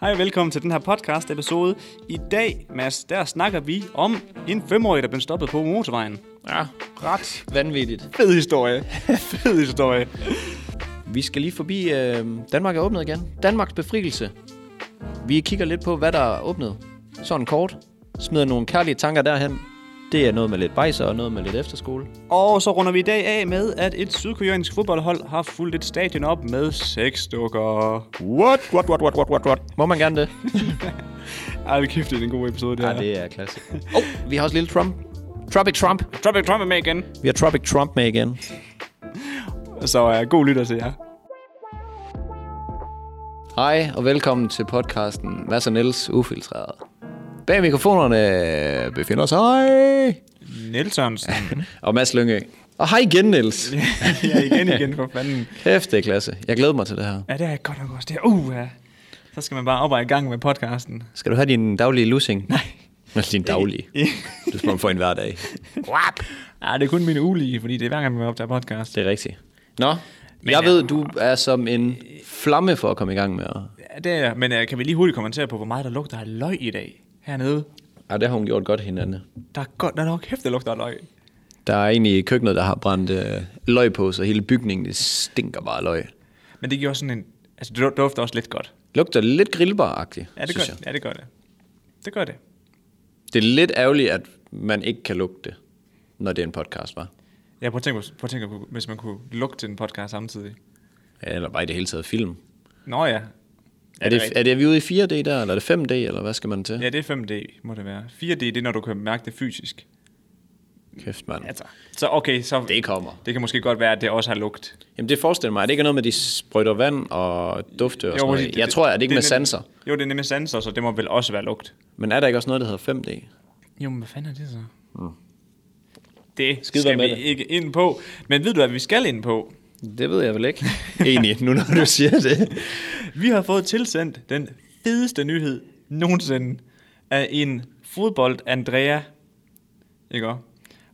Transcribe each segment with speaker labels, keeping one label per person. Speaker 1: Hej og velkommen til den her podcast episode. I dag, Mads, der snakker vi om en femårig, der blev stoppet på motorvejen.
Speaker 2: Ja, ret vanvittigt.
Speaker 1: Fed historie. Fed historie.
Speaker 2: Vi skal lige forbi, øh, Danmark er åbnet igen. Danmarks befrielse. Vi kigger lidt på, hvad der er åbnet. Sådan kort. Smider nogle kærlige tanker derhen. Det er noget med lidt bajser og noget med lidt efterskole.
Speaker 1: Og så runder vi i dag af med, at et sydkoreansk fodboldhold har fulgt et stadion op med seks dukker.
Speaker 2: What? What, what, what, what, what, what? Må man gerne det?
Speaker 1: Ej, vi kæft, det er en god episode, det
Speaker 2: Ja,
Speaker 1: her.
Speaker 2: det er klasse. Oh, vi har også lille Trump. Tropic Trump.
Speaker 1: Trump, Trump er med igen.
Speaker 2: Vi har Tropic Trump med igen.
Speaker 1: Så uh, god lytter til jer.
Speaker 2: Hej og velkommen til podcasten Mads og Niels Ufiltreret. Bag mikrofonerne befinder sig...
Speaker 1: Nielsonsen.
Speaker 2: Og Mads Lyngø. Og hej igen, Niels.
Speaker 1: ja, igen, igen, for fanden.
Speaker 2: Kæft, det er klasse. Jeg glæder mig til det her.
Speaker 1: Ja, det er godt nok også det her. Uh, ja. Så skal man bare op og i gang med podcasten.
Speaker 2: Skal du have din daglige lussing? Nej. Altså din daglige. Du spørger for en hverdag.
Speaker 1: Ja, det er kun mine ulige, fordi det er hver gang, vi optager podcast.
Speaker 2: Det er rigtigt. Nå, Men jeg
Speaker 1: ja.
Speaker 2: ved, du er som en flamme for at komme i gang med. at-
Speaker 1: Ja, det er, men øh, kan vi lige hurtigt kommentere på, hvor meget der lugter af løg i dag hernede?
Speaker 2: Ja, det har hun gjort godt hinanden.
Speaker 1: Der er godt der er nok kæft, der lugter af løg.
Speaker 2: Der er en i køkkenet, der har brændt øh, løg på, så hele bygningen det stinker bare af løg.
Speaker 1: Men det giver også sådan en... Altså, det du- dufter også lidt godt.
Speaker 2: Lugter lidt grillbar-agtigt,
Speaker 1: Ja, det gør
Speaker 2: synes jeg.
Speaker 1: det. Ja, det gør det. Det gør det.
Speaker 2: Det er lidt ærgerligt, at man ikke kan lugte det, når det er en podcast, var.
Speaker 1: Ja, prøv at tænke, prøv at tænke hvis man kunne lugte til en podcast samtidig.
Speaker 2: Eller bare i det hele taget film.
Speaker 1: Nå ja.
Speaker 2: Er det,
Speaker 1: rigtigt.
Speaker 2: er det, er vi ude i 4D der, eller er det 5D, eller hvad skal man til?
Speaker 1: Ja, det er 5D, må det være. 4D, det er, når du kan mærke det fysisk.
Speaker 2: Kæft, mand.
Speaker 1: Altså, så okay, så...
Speaker 2: Det kommer.
Speaker 1: Det kan måske godt være, at det også har lugt.
Speaker 2: Jamen, det forestiller mig. Er det ikke noget med, at de sprøjter vand og dufte og sådan
Speaker 1: præcis.
Speaker 2: noget? Jeg tror, at det ikke med
Speaker 1: nemlig-
Speaker 2: sanser.
Speaker 1: Jo, det er nemlig sanser, så det må vel også være lugt.
Speaker 2: Men er der ikke også noget, der hedder 5D?
Speaker 1: Jo, men hvad fanden er det så? Mm. Det
Speaker 2: Skide
Speaker 1: skal
Speaker 2: være med
Speaker 1: vi
Speaker 2: det.
Speaker 1: ikke ind på. Men ved du, hvad vi skal ind på?
Speaker 2: Det ved jeg vel ikke. Egentlig, nu når du siger det.
Speaker 1: Vi har fået tilsendt den fedeste nyhed nogensinde af en fodbold Andrea. Ikke også?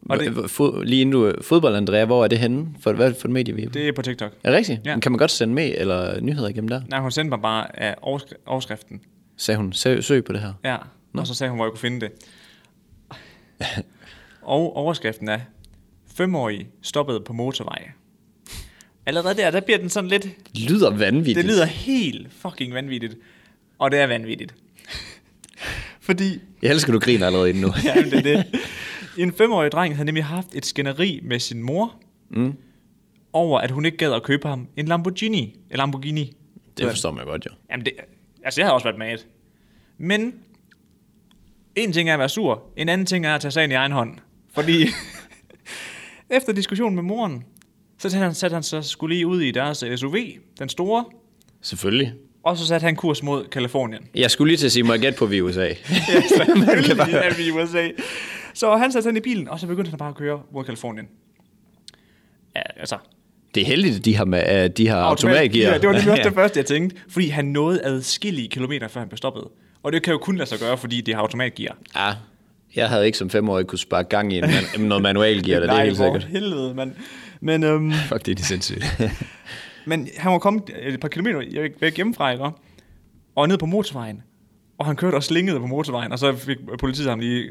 Speaker 1: Og det,
Speaker 2: Fod, lige inden du... Fodbold, Andrea, hvor er det henne? For, hvad er det for et medie, vi er på?
Speaker 1: det er på TikTok.
Speaker 2: Er det rigtigt?
Speaker 1: Ja.
Speaker 2: Ja. Kan man godt sende med eller nyheder igennem der?
Speaker 1: Nej, hun sendte mig bare af overskri- overskriften.
Speaker 2: Sagde hun, søg, søg på det her.
Speaker 1: Ja, Nå. og så sagde hun, hvor jeg kunne finde det. og overskriften er, femårig stoppede på motorvej. Allerede der, der bliver den sådan lidt,
Speaker 2: Det lyder vanvittigt.
Speaker 1: Det lyder helt fucking vanvittigt. Og det er vanvittigt. Fordi,
Speaker 2: Jeg elsker, du griner allerede inden nu.
Speaker 1: ja, det er det. En femårig dreng havde nemlig haft et skænderi med sin mor,
Speaker 2: Mm.
Speaker 1: over at hun ikke gad at købe ham en Lamborghini. En Lamborghini.
Speaker 2: Det forstår man godt, jo.
Speaker 1: Jamen, det, altså, jeg havde også været mad. Men, en ting er at være sur, en anden ting er at tage sagen i egen hånd. Fordi, efter diskussionen med moren, så satte han, satte han sig skulle lige ud i deres SUV, den store,
Speaker 2: Selvfølgelig.
Speaker 1: og så satte han kurs mod Kalifornien.
Speaker 2: Jeg skulle lige til at sige, må jeg gætte på, vi er i USA?
Speaker 1: man kan bare... er vi i USA. Så han satte sig ind i bilen, og så begyndte han bare at køre mod Kalifornien. Ja, altså...
Speaker 2: Det er heldigt, at de har, med, at de har automatgear.
Speaker 1: Ja, det var nemlig også det første, jeg tænkte. Fordi han nåede adskillige kilometer, før han blev stoppet. Og det kan jo kun lade sig gøre, fordi det har automatgear.
Speaker 2: Ja, jeg havde ikke som femårig kunne spare gang i en man, noget manualgear, det er helt
Speaker 1: for
Speaker 2: sikkert.
Speaker 1: helvede, mand. Men, øhm,
Speaker 2: Fuck, det er de sindssygt.
Speaker 1: men han var kommet et par kilometer væk hjemmefra, ikke? også? Og ned på motorvejen. Og han kørte og slingede på motorvejen, og så fik politiet ham lige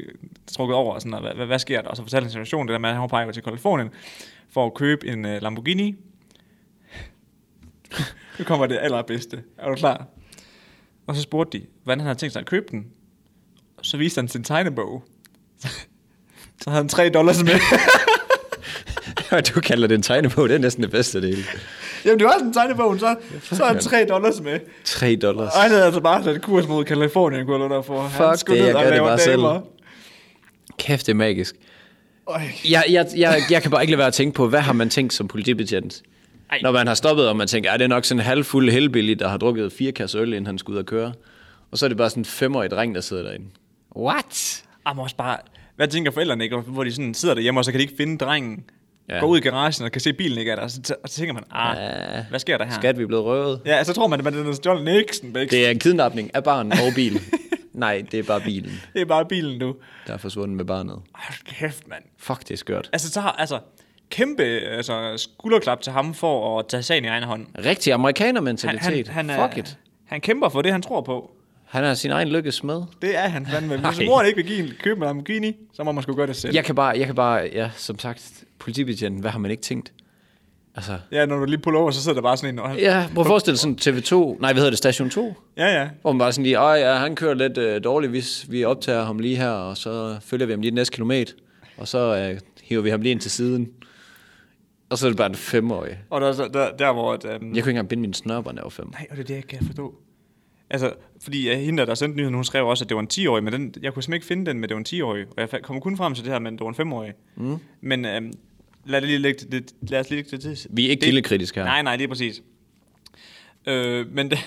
Speaker 1: trukket over, og sådan, og hvad, hvad, hvad sker der? Og så fortalte han situationen, det der med, at han var på vej til Kalifornien for at købe en uh, Lamborghini. nu kommer det allerbedste. Er du klar? Og så spurgte de, hvordan han havde tænkt sig at købe den. Og så viste han sin tegnebog. så havde han 3 dollars med.
Speaker 2: du kalder den tegne på, det er næsten det bedste af det hele.
Speaker 1: Jamen, det var sådan en tegnebog, så, så havde han 3 dollars med.
Speaker 2: 3 dollars.
Speaker 1: Og han havde altså bare sat kurs mod Kalifornien, kunne jeg lade dig for. han
Speaker 2: Fuck det, jeg
Speaker 1: og
Speaker 2: gør det
Speaker 1: lave
Speaker 2: bare selv.
Speaker 1: damer.
Speaker 2: Kæft, det er magisk.
Speaker 1: Øj.
Speaker 2: Jeg, jeg, jeg, jeg kan bare ikke lade være at tænke på, hvad har man tænkt som politibetjent?
Speaker 1: Ej.
Speaker 2: Når man har stoppet, og man tænker, er det er nok sådan en halvfuld helbillig, der har drukket fire kasser øl, inden han skulle ud og køre. Og så er det bare sådan en femårig dreng, der sidder derinde. What?
Speaker 1: Jamen også bare, hvad tænker forældrene ikke, hvor de sådan sidder derhjemme, og så kan de ikke finde drengen. Ja.
Speaker 2: Ja.
Speaker 1: Går ud i garagen og kan se bilen ikke er der, og så, tæ- og så tænker man, ah, ja.
Speaker 2: Ja.
Speaker 1: hvad sker der her?
Speaker 2: Skat, vi er blevet røvet.
Speaker 1: Ja, så tror man, at man er den John Nixon, det,
Speaker 2: Det er en kidnapning af barn og bil. Nej, det er bare bilen,
Speaker 1: det er bare bilen nu.
Speaker 2: der er forsvundet med barnet.
Speaker 1: Hold kæft, mand.
Speaker 2: Fuck, det er skørt.
Speaker 1: Altså, så har, altså, kæmpe altså, skulderklap til ham for at tage sagen i egen hånd.
Speaker 2: Rigtig amerikaner mentalitet.
Speaker 1: han, er,
Speaker 2: Fuck it.
Speaker 1: han kæmper for det, han tror på.
Speaker 2: Han er sin egen lykkes med.
Speaker 1: Det er han fandme. Hvis
Speaker 2: Nej.
Speaker 1: mor ikke vil give en, købe en Lamborghini, så må man sgu gøre det selv.
Speaker 2: Jeg kan bare, jeg kan bare ja, som sagt, politibetjenten, hvad har man ikke tænkt? Altså,
Speaker 1: Ja, når du lige puller over, så sidder der bare sådan en... Og han,
Speaker 2: ja, prøv at forestille dig sådan TV2, nej, hvad hedder det, Station 2?
Speaker 1: ja, ja.
Speaker 2: Hvor man bare sådan lige, ej, ja, han kører lidt øh, dårligt, hvis vi optager ham lige her, og så følger vi ham lige den næste kilometer, og så øh, hiver vi ham lige ind til siden. Og så er det bare en femårig.
Speaker 1: Og der, der, der, der hvor... At, øhm,
Speaker 2: Jeg kunne ikke engang binde mine snørbånd af fem.
Speaker 1: Nej, og det er det, jeg ikke kan forstå. Altså, fordi øh, hende, der, der sendte nyheden, hun skrev også, at det var en 10-årig, men den, jeg kunne simpelthen ikke finde den med, at det var en 10-årig. Og jeg fa- kom kun frem til det her, men det var en 5-årig. Mm. Men øhm, lad, det lige lægge det, lad os lige lægge det til.
Speaker 2: Vi er ikke
Speaker 1: det,
Speaker 2: kildekritiske her.
Speaker 1: Nej, nej, lige præcis. Øh, men det,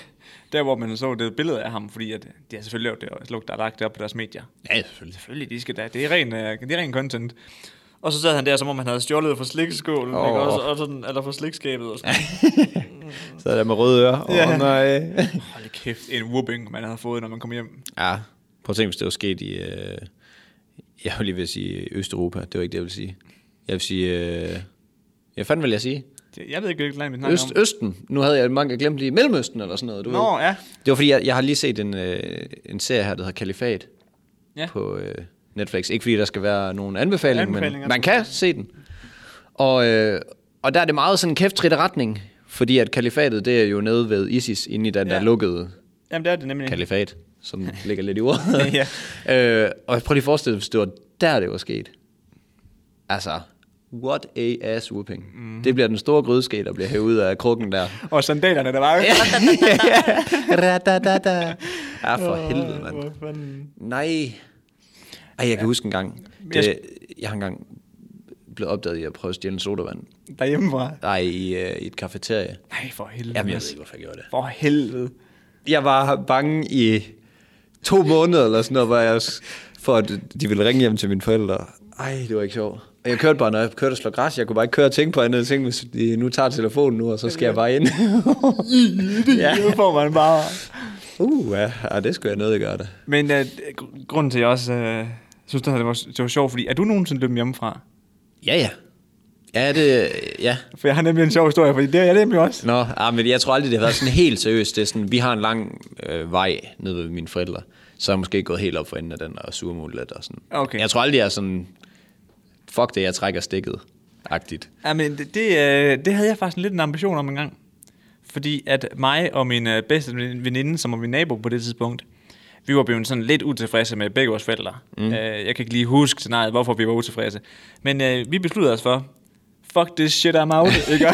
Speaker 1: der, hvor man så det billede af ham, fordi at, de har selvfølgelig lavet det, og lagt- der er lagt det op på deres medier.
Speaker 2: Ja, selvfølgelig.
Speaker 1: Selvfølgelig, de skal da. Det er ren, øh, det er ren content. Og så sad han der, som om han havde stjålet fra slikskålen, oh. ikke?
Speaker 2: Åh.
Speaker 1: Også, og sådan, eller fra slikskabet. Og sådan.
Speaker 2: Så er der med røde ører.
Speaker 1: Ja.
Speaker 2: Ja. Oh, nej.
Speaker 1: Hold kæft, en whooping, man havde fået, når man kom hjem.
Speaker 2: ja, prøv at tænke, hvis det var sket i, øh, jeg vil lige ved at sige Østeuropa, det var ikke det, jeg ville sige. Jeg vil sige, øh, jeg fandt, vil jeg sige?
Speaker 1: Det- Jeg ved ikke, hvilket land vi snakker
Speaker 2: Øst,
Speaker 1: om.
Speaker 2: Østen. Nu havde jeg mange glemt lige Mellemøsten eller sådan noget. Du ved.
Speaker 1: Nå, ja.
Speaker 2: Det var fordi, jeg, jeg har lige set en, øh, en serie her, der hedder Kalifat
Speaker 1: Ja.
Speaker 2: ja. på øh, Netflix. Ikke fordi der skal være nogen anbefaling, men
Speaker 1: Anbefalinger.
Speaker 2: man kan se den. Og, øh, og der er det meget sådan kæftridt retning, fordi at kalifatet, det er jo nede ved ISIS, inde i den
Speaker 1: Ja.
Speaker 2: ja. der lukkede
Speaker 1: Jamen, det er det nemlig.
Speaker 2: kalifat, som ligger lidt i ordet.
Speaker 1: Ja.
Speaker 2: øh, og prøv lige at forestille dig, hvis det var der, det var sket. Altså, what a ass whooping.
Speaker 1: Mhm.
Speaker 2: Mm. Det bliver den store grydeske, der bliver hævet ud af krukken der.
Speaker 1: Og sandalerne, der var jo...
Speaker 2: Ra-da-da-da. Ja, for helvede, mand.
Speaker 1: Hvor fanden-
Speaker 2: Nej. Ej, jeg kan huske en gang.
Speaker 1: jeg-
Speaker 2: Det, jeg har engang blevet opdaget i at prøve at stjæle en sodavand.
Speaker 1: Derhjemmefra.
Speaker 2: Nej, i, øh, i et kafeterie.
Speaker 1: Nej, for helvede.
Speaker 2: Jamen, jeg ved
Speaker 1: Mads.
Speaker 2: ikke, hvorfor jeg gjorde det.
Speaker 1: For helvede.
Speaker 2: Jeg var bange i to måneder eller sådan noget, hvor jeg, s- for at de ville ringe hjem til mine forældre. Ej, det var ikke sjovt. Og jeg kørte bare, når jeg kørte og slog græs, jeg kunne bare ikke køre og tænke på andet. Jeg tænkte, hvis de nu tager telefonen nu, og så skal jeg bare ind.
Speaker 1: Ja. Nu får man bare...
Speaker 2: uh, ja, Ej, det skulle jeg nødt gøre det.
Speaker 1: Men uh, gr- grunden til, at jeg også uh, synes, det her, det var, det var sjovt, fordi er du nogensinde dømt hjemmefra?
Speaker 2: Ja, ja. Ja, det, ja.
Speaker 1: For jeg har nemlig en sjov historie, fordi det er jeg nemlig også.
Speaker 2: Nå, ah, men jeg tror aldrig, det har været sådan helt seriøst. Det er sådan, vi har en lang øh, vej ned ved mine forældre, så er jeg måske gået helt op for enden af den og surmulet lidt og sådan.
Speaker 1: Okay.
Speaker 2: Jeg tror aldrig, jeg er sådan, fuck det, jeg trækker stikket, agtigt.
Speaker 1: Ja, men det, det, øh, det havde jeg faktisk lidt en ambition om en gang. Fordi at mig og min øh, bedste veninde, som var min nabo på det tidspunkt, vi var blevet sådan lidt utilfredse med begge vores forældre. Mm. Øh, jeg kan ikke lige huske scenariet, hvorfor vi var utilfredse. Men øh, vi besluttede os for, fuck this shit, I'm out. Ikke?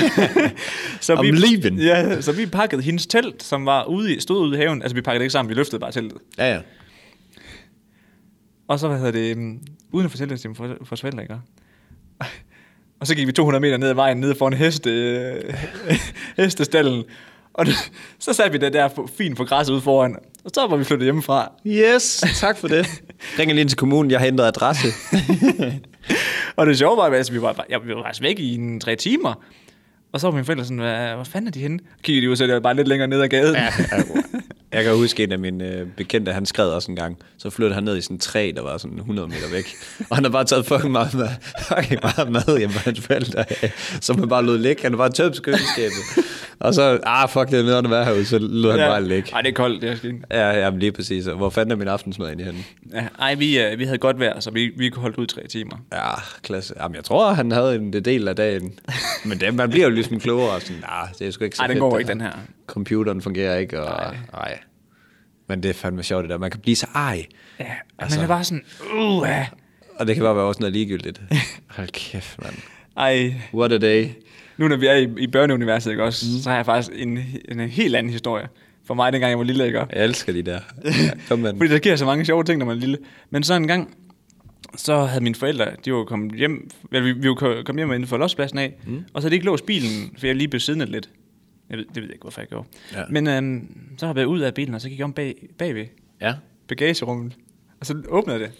Speaker 1: så
Speaker 2: I'm leaving.
Speaker 1: Ja, så vi pakkede hendes telt, som var ude i, stod ude i haven. Altså vi pakkede det ikke sammen, vi løftede bare teltet.
Speaker 2: Ja, ja.
Speaker 1: Og så, hvad hedder det, um, uden at fortælle det til mine for, for forældre, ikke? Og så gik vi 200 meter ned ad vejen, ned foran heste, øh, hestestallen. Og det, så satte vi det der på- fint på græsset ude foran. Og så var vi flyttet hjemmefra.
Speaker 2: Yes, tak for det. Ringer lige ind til kommunen, jeg har ændret adresse.
Speaker 1: Og det sjove var, at altså, vi var, jeg, vi var faktisk væk i en tre timer. Og så var mine forældre sådan, hvad, hvor fanden er de henne? Kiggede de ud, så det var bare lidt længere ned ad gaden. Ja.
Speaker 2: jeg kan huske en af mine øh, bekendte, han skred også en gang, så flyttede han ned i sådan en træ, der var sådan 100 meter væk. Og han har bare taget fucking meget mad, fucking meget mad hjemme fra hans forældre, øh, som han bare lod ligge. Han har bare tømt køkkenskabet. Og så, ah fuck, det er nødt at være herude, så lod han bare ligge.
Speaker 1: Ej, det er koldt, det er sket.
Speaker 2: Ja, ja, men lige præcis. Og Hvor fanden er min aftensmad egentlig henne?
Speaker 1: Ja, ej, vi, øh, vi havde godt vejr, så vi, vi holdt ud i tre timer.
Speaker 2: Ja, klasse. Jamen, jeg tror, han havde en del af dagen. Men det, man bliver jo ligesom klogere og sådan, nej, det er sgu ikke så
Speaker 1: Ej, den
Speaker 2: fedt,
Speaker 1: går
Speaker 2: det
Speaker 1: ikke, den her.
Speaker 2: Computeren fungerer ikke, og nej. Men det er fandme sjovt, det der. Man kan blive så ej.
Speaker 1: Ja, altså. men det var sådan, uh, ja.
Speaker 2: Og det kan bare være også noget ligegyldigt. Hold kæft, mand.
Speaker 1: Ej,
Speaker 2: What a day.
Speaker 1: Nu når vi er i, i børneuniverset, ikke også, mm. så har jeg faktisk en, en, en helt anden historie for mig, dengang jeg var lille, ikke? også?
Speaker 2: Jeg elsker de der. Kom, mand.
Speaker 1: Fordi der sker så mange sjove ting, når man er lille. Men så en gang, så havde mine forældre, de var kommet hjem, eller vi, vi var ko- kommet hjem inden for lospladsen af, mm. og så havde de ikke låst bilen, for jeg lige blev siddende lidt. Jeg ved, det ved jeg ikke, hvorfor jeg gjorde. Ja.
Speaker 2: Ja.
Speaker 1: Men øhm, så har jeg været ud af bilen, og så gik jeg om bag, bagved
Speaker 2: Ja.
Speaker 1: bagagerummet, og så åbnede jeg det.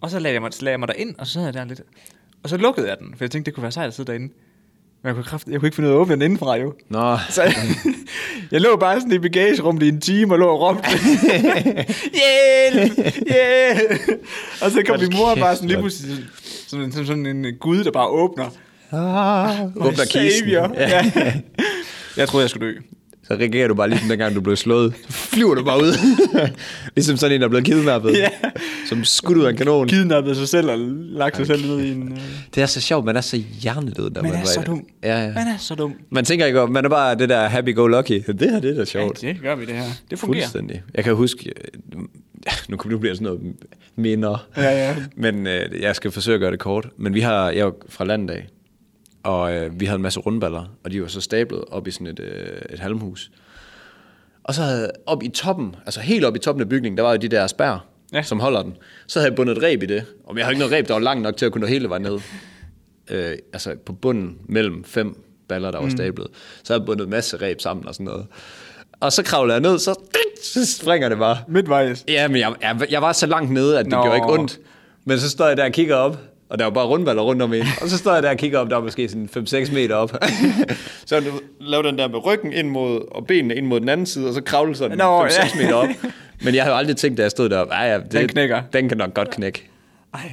Speaker 1: Og så lagde jeg mig, så lagde jeg mig derind, og så sad jeg der lidt. Og så lukkede jeg den, for jeg tænkte, det kunne være sejt at sidde derinde. Men jeg kunne, kraft, jeg kunne ikke finde ud af at åbne den indenfra, jo.
Speaker 2: Nå.
Speaker 1: Så jeg, jeg lå bare sådan i bagagerummet i en time og lå og råbte. Hjælp! Hjælp! Og så kom
Speaker 2: Hold
Speaker 1: min mor
Speaker 2: kæft,
Speaker 1: bare sådan lige
Speaker 2: mand.
Speaker 1: pludselig sådan, sådan, sådan en øh, gud, der bare åbner.
Speaker 2: Ah,
Speaker 1: My
Speaker 2: åbner kisten.
Speaker 1: savior.
Speaker 2: Ja.
Speaker 1: Ja. Jeg troede, jeg skulle dø.
Speaker 2: Så reagerer du bare ligesom dengang, du blev slået. Så flyver du bare ud. ligesom sådan en, der er blevet kidnappet.
Speaker 1: Ja.
Speaker 2: Som skudt ud af en kanon.
Speaker 1: Kidnappet sig selv og lagt sig selv ned i en... Øh...
Speaker 2: Det er så sjovt, man er så hjernedød, når
Speaker 1: Man er
Speaker 2: var-
Speaker 1: så dum.
Speaker 2: Ja, ja.
Speaker 1: Man er så dum.
Speaker 2: Man tænker ikke, om- man er bare det der happy-go-lucky. Det her, det er da sjovt.
Speaker 1: Ja, det gør vi det her. Det fungerer.
Speaker 2: Fuldstændig. Jeg kan huske, øh, nu kommer det blive sådan noget minder,
Speaker 1: Ja, ja.
Speaker 2: men øh, jeg skal forsøge at gøre det kort. Men vi har, jeg er jo fra landet af, og øh, vi havde en masse rundballer, og de var så stablet op i sådan et, øh, et halmhus. Og så havde op i toppen, altså helt op i toppen af bygningen, der var jo de der spær,
Speaker 1: Ja.
Speaker 2: ja. som holder den. Så havde jeg bundet et reb i det, og jeg havde ikke noget reb, der var langt nok til at kunne nå hele vejen ned. Øh, altså på bunden mellem fem baller, der var stablet. Så havde jeg bundet en masse reb sammen og sådan noget. Og så kravlede jeg ned, så, så springer det bare.
Speaker 1: Midtvejs.
Speaker 2: Ja, men jeg, jeg, jeg var så langt nede, at det
Speaker 1: Nå.
Speaker 2: Nå. gjorde ikke ondt. Men så står jeg der og kigger op, og der var bare rundballer rundt om en. Og så står jeg der og kigger op, der var måske sådan 5-6 meter op. så du laver den der med ryggen ind mod, og benene ind mod den anden side, og så kravler sådan
Speaker 1: Nå,
Speaker 2: 5-6
Speaker 1: ja.
Speaker 2: meter op. Men jeg havde jo aldrig tænkt, da jeg stod deroppe, "Ej, ja, det,
Speaker 1: Den knækker."
Speaker 2: Den kan nok godt knække.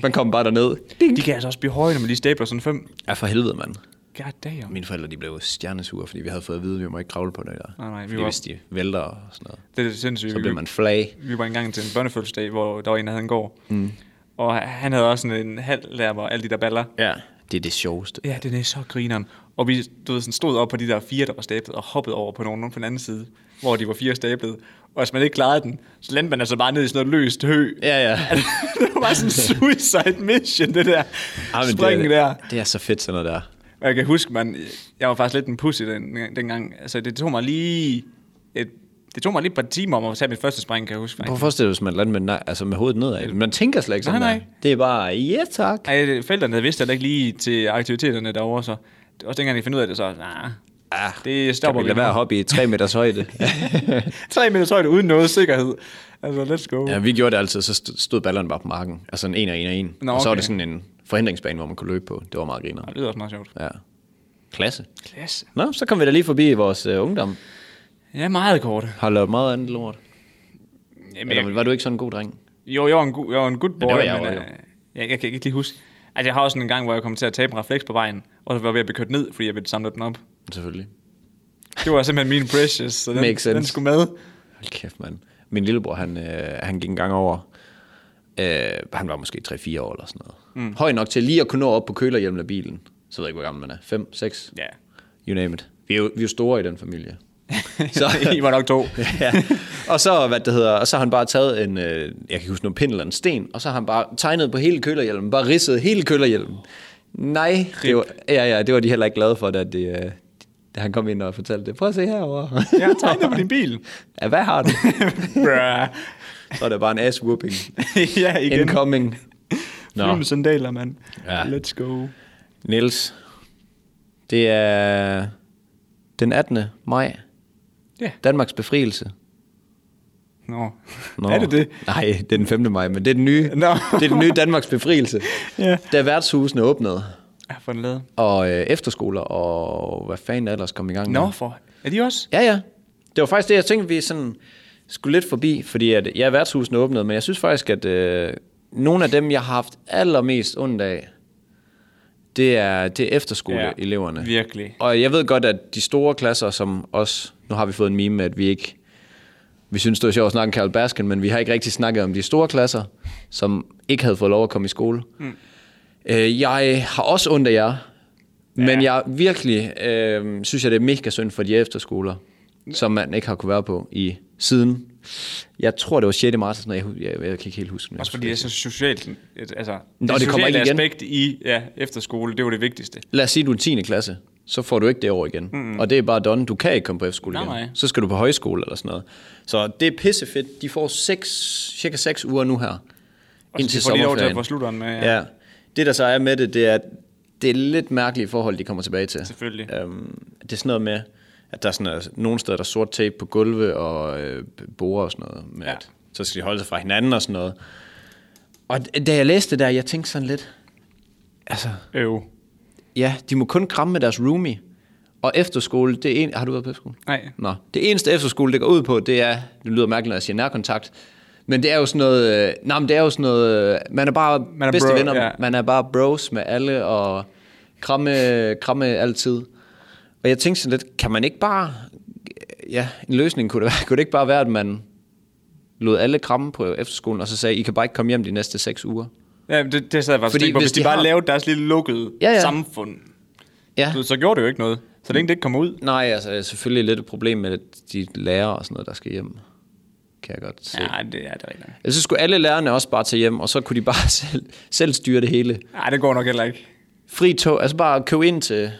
Speaker 2: Man kommer bare derned.
Speaker 1: De kan altså også blive høje, når man lige stabler sådan fem.
Speaker 2: Ja, for helvede, mand.
Speaker 1: God damn.
Speaker 2: Mine forældre de blev stjernesure, fordi vi havde fået at vide, at vi må ikke kravle på det der.
Speaker 1: Nej, nej, vi
Speaker 2: fordi
Speaker 1: var-
Speaker 2: hvis de vælter og sådan noget,
Speaker 1: Det er sindssygt.
Speaker 2: så
Speaker 1: Vi-
Speaker 2: bliver man flag.
Speaker 1: Vi var engang til en børnefødselsdag, hvor der var en, der havde en gård. Mm. Og han havde også sådan en halv lærmer og alle de der baller.
Speaker 2: Ja. Det er det sjoveste.
Speaker 1: Ja, den er så grineren. Og vi du ved, sådan stod op på de der fire, der var stablet, og hoppede over på nogen, nogen på den anden side, hvor de var fire stablet. Og hvis man ikke klarede den, så landte man altså bare ned i sådan noget løst hø.
Speaker 2: Ja, ja.
Speaker 1: det var bare sådan en suicide mission, det der
Speaker 2: Ah,
Speaker 1: ah,
Speaker 2: men
Speaker 1: spring
Speaker 2: det, er-
Speaker 1: der.
Speaker 2: Det er så fedt sådan noget der.
Speaker 1: Og jeg kan huske, man, jeg var faktisk lidt en pussy den, dengang. Altså, det tog mig lige... Et, det tog mig lige et par timer om at tage mit første spring, kan jeg huske.
Speaker 2: Prøv at forestille dig, hvis man lander med, nej, altså med hovedet nedad. Man tænker slet ikke sådan
Speaker 1: Nej,
Speaker 2: der.
Speaker 1: nej.
Speaker 2: Det er bare, ja tak.
Speaker 1: Ej, felterne vidste heller ikke lige til aktiviteterne derovre, så også dengang de finder ud af det, så nah,
Speaker 2: Ah,
Speaker 1: det
Speaker 2: Kan
Speaker 1: stopper
Speaker 2: vi
Speaker 1: vi
Speaker 2: lade være at
Speaker 1: med.
Speaker 2: hoppe i tre meters højde?
Speaker 1: Tre meters højde uden noget sikkerhed. Altså, let's go.
Speaker 2: ja, vi gjorde det altid, så st- stod ballerne bare på marken. Altså en en og en og en.
Speaker 1: Nå,
Speaker 2: Og så var
Speaker 1: okay.
Speaker 2: det sådan en forhindringsbane, hvor man kunne løbe på. Det var meget griner.
Speaker 1: Det lyder også meget sjovt.
Speaker 2: Ja. Klasse.
Speaker 1: Klasse.
Speaker 2: Nå, så kom vi da lige forbi vores øh, ungdom.
Speaker 1: Ja, meget kort.
Speaker 2: Har lavet meget andet lort.
Speaker 1: Jamen,
Speaker 2: Eller
Speaker 1: jeg,
Speaker 2: var du ikke sådan en god dreng?
Speaker 1: jo, jeg var en, gu- jeg var en good boy,
Speaker 2: var jeg
Speaker 1: men
Speaker 2: også, jo.
Speaker 1: øh, jeg, jeg, kan ikke lige huske. Altså, jeg har også en gang, hvor jeg kom til at tabe en refleks på vejen, og så var jeg ved at blive kørt ned, fordi jeg ville samle den op.
Speaker 2: Selvfølgelig.
Speaker 1: Det var simpelthen min precious, så den,
Speaker 2: Makes sense.
Speaker 1: den skulle med.
Speaker 2: Hold kæft, mand. Min lillebror, han, øh, han gik en gang over. Øh, han var måske 3-4 år eller sådan noget. Mm. Høj nok til lige at kunne nå op på kølerhjelmen af bilen. Så ved jeg ikke, hvor gammel man er. 5, 6?
Speaker 1: Ja.
Speaker 2: You name it. Vi er jo, vi er jo store i den familie. Så,
Speaker 1: I var nok to.
Speaker 2: ja. Og så, hvad det hedder, og så har han bare taget en, øh, jeg kan ikke huske noget pind eller en sten, og så har han bare tegnet på hele kølerhjelmen, bare ridset hele kølerhjelmen. Nej, det var, ja, ja, det var de heller ikke glade for, da, det, øh, da han kom ind og fortalte det. Prøv at se herover.
Speaker 1: Jeg tegnede på din bil.
Speaker 2: Ja, hvad har du?
Speaker 1: Bruh.
Speaker 2: Så er der bare en ass-whooping.
Speaker 1: ja, igen.
Speaker 2: Incoming.
Speaker 1: Fly
Speaker 2: Nå,
Speaker 1: med sandaler, mand.
Speaker 2: Ja.
Speaker 1: Let's go.
Speaker 2: Niels. Det er den 18. maj.
Speaker 1: Ja.
Speaker 2: Danmarks befrielse.
Speaker 1: Nå. Nå. Er det det?
Speaker 2: Nej, det er den 5. maj, men det er den nye,
Speaker 1: Nå.
Speaker 2: det er den nye Danmarks befrielse.
Speaker 1: Ja.
Speaker 2: Da værtshusene åbnede,
Speaker 1: Jeg har fået den lavet.
Speaker 2: og øh, efterskoler, og hvad fanden ellers kom i gang med.
Speaker 1: Nå, for... Er de også?
Speaker 2: Ja, ja. Det var faktisk det, jeg tænkte, vi sådan skulle lidt forbi, fordi at, ja, værtshusene åbnede, men jeg synes faktisk, at øh, nogle af dem, jeg har haft allermest ondt af, det er, det er efterskoleeleverne.
Speaker 1: Ja, virkelig.
Speaker 2: Og jeg ved godt, at de store klasser, som os, nu har vi fået en meme med, at vi ikke, vi synes, det var sjovt at snakke om Carol Baskin, men vi har ikke rigtig snakket om de store klasser, som ikke havde fået lov at komme i skole. Mm. Øh, jeg har også ondt af jer, men jeg virkelig øh, synes, jeg, det er mega synd for de efterskoler, som man ikke har kunne være på i siden. Jeg tror, det var 6. marts, eller sådan noget. Jeg, jeg, jeg kan ikke helt huske det.
Speaker 1: Også fordi det er så socialt. et- Altså,
Speaker 2: Nå, det
Speaker 1: sociale
Speaker 2: kommer ikke igen.
Speaker 1: aspekt i ja, efterskole, det var det vigtigste.
Speaker 2: lad os sige, du er 10. klasse, så får du ikke det år igen. Mm-hmm. Og det er bare done. Du kan ikke komme på F-skole
Speaker 1: Nej,
Speaker 2: igen.
Speaker 1: nej.
Speaker 2: Så skal du på højskole eller sådan noget. Så det er pissefedt. De får 6, cirka 6 uger nu her.
Speaker 1: Og
Speaker 2: Indtil
Speaker 1: de får lige lov til at
Speaker 2: sommerferien.
Speaker 1: få slutteren med. Ja.
Speaker 2: Ja. ja. Det, der så er med det, det er, at det er lidt mærkelige forhold, de kommer tilbage til.
Speaker 1: Selvfølgelig.
Speaker 2: Øhm, det er sådan noget med, at der er sådan noget, nogle steder, der er sort tape på gulve og øh, borer og sådan noget. Med
Speaker 1: Ja.
Speaker 2: ja. at, så skal de holde sig fra hinanden og sådan noget. Og d- da jeg læste det der, jeg tænkte sådan lidt, altså,
Speaker 1: Øv.
Speaker 2: Ja, de må kun kramme med deres roomie. Og efterskole, det er en... Har du været på efterskole?
Speaker 1: Nej.
Speaker 2: Nå. Det eneste efterskole, det går ud på, det er... Det lyder mærkeligt, når jeg siger nærkontakt. Men det er jo sådan noget... Øh, nej, men det er jo sådan noget... øh, Man er bare man
Speaker 1: er
Speaker 2: er bedste
Speaker 1: bro,
Speaker 2: bro, venner.
Speaker 1: ja.
Speaker 2: Ja. Man er bare bros med alle og kramme, kramme altid. Og jeg tænkte sådan lidt, kan man ikke bare ja, en løsning kunne det, være. kunne det ikke bare være, at man lod alle kramme på efterskolen, og så sagde, I kan bare ikke komme hjem de næste seks uger.
Speaker 1: Ja, men det, det sad jeg faktisk
Speaker 2: Fordi
Speaker 1: Fordi, på.
Speaker 2: hvis
Speaker 1: Hvis de,
Speaker 2: de
Speaker 1: bare
Speaker 2: har-
Speaker 1: lavede deres lille lukkede
Speaker 2: Ja,
Speaker 1: ja,
Speaker 2: ja.
Speaker 1: ja. samfund,
Speaker 2: Ja.
Speaker 1: så, så gjorde det jo ikke noget. Så længe det ikke kom ud.
Speaker 2: Nej, altså jeg er selvfølgelig lidt et problem med de lærere og sådan noget, der skal hjem. Kan jeg godt se. Ja.
Speaker 1: Nej, det er det er rigtigt.
Speaker 2: Altså, så skulle alle lærerne også bare tage hjem, og så kunne de bare selv, selv styre det hele.
Speaker 1: Nej, det går nok heller ikke.
Speaker 2: Fri tog, altså bare købe ind til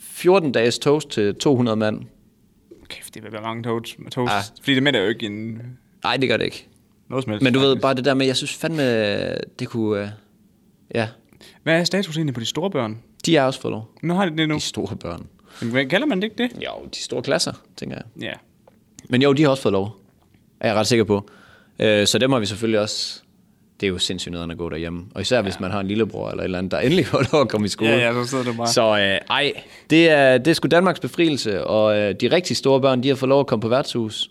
Speaker 2: 14 dages toast til 200 mand.
Speaker 1: Kæft, det vil være mange toast. toast.
Speaker 2: Ah.
Speaker 1: Ah. Fordi det mætter jo ikke en...
Speaker 2: Nej, det gør det ikke.
Speaker 1: Noget som helst.
Speaker 2: Men du ved
Speaker 1: faktisk.
Speaker 2: bare det der med, jeg synes fandme, det kunne... øh, Ja,
Speaker 1: Hvad er status egentlig på de store børn?
Speaker 2: de er også fået lov.
Speaker 1: Nu har de det nu.
Speaker 2: De store børn.
Speaker 1: Men hvad- kalder man det ikke det?
Speaker 2: Jo, de store klasser, tænker jeg.
Speaker 1: Ja.
Speaker 2: Men jo, de har også fået lov. Er jeg ret sikker på. Øh, så dem har vi selvfølgelig også... Det er jo sindssygt nederen at gå derhjemme. Og især ja. hvis man har en lillebror eller et eller andet, der endelig får lov at komme i skole.
Speaker 1: Ja, ja, så sidder du bare. Så.
Speaker 2: Så øh, ej, det er, det er sgu Danmarks befrielse, og øh, de rigtig store børn, de har fået lov at komme på værtshus.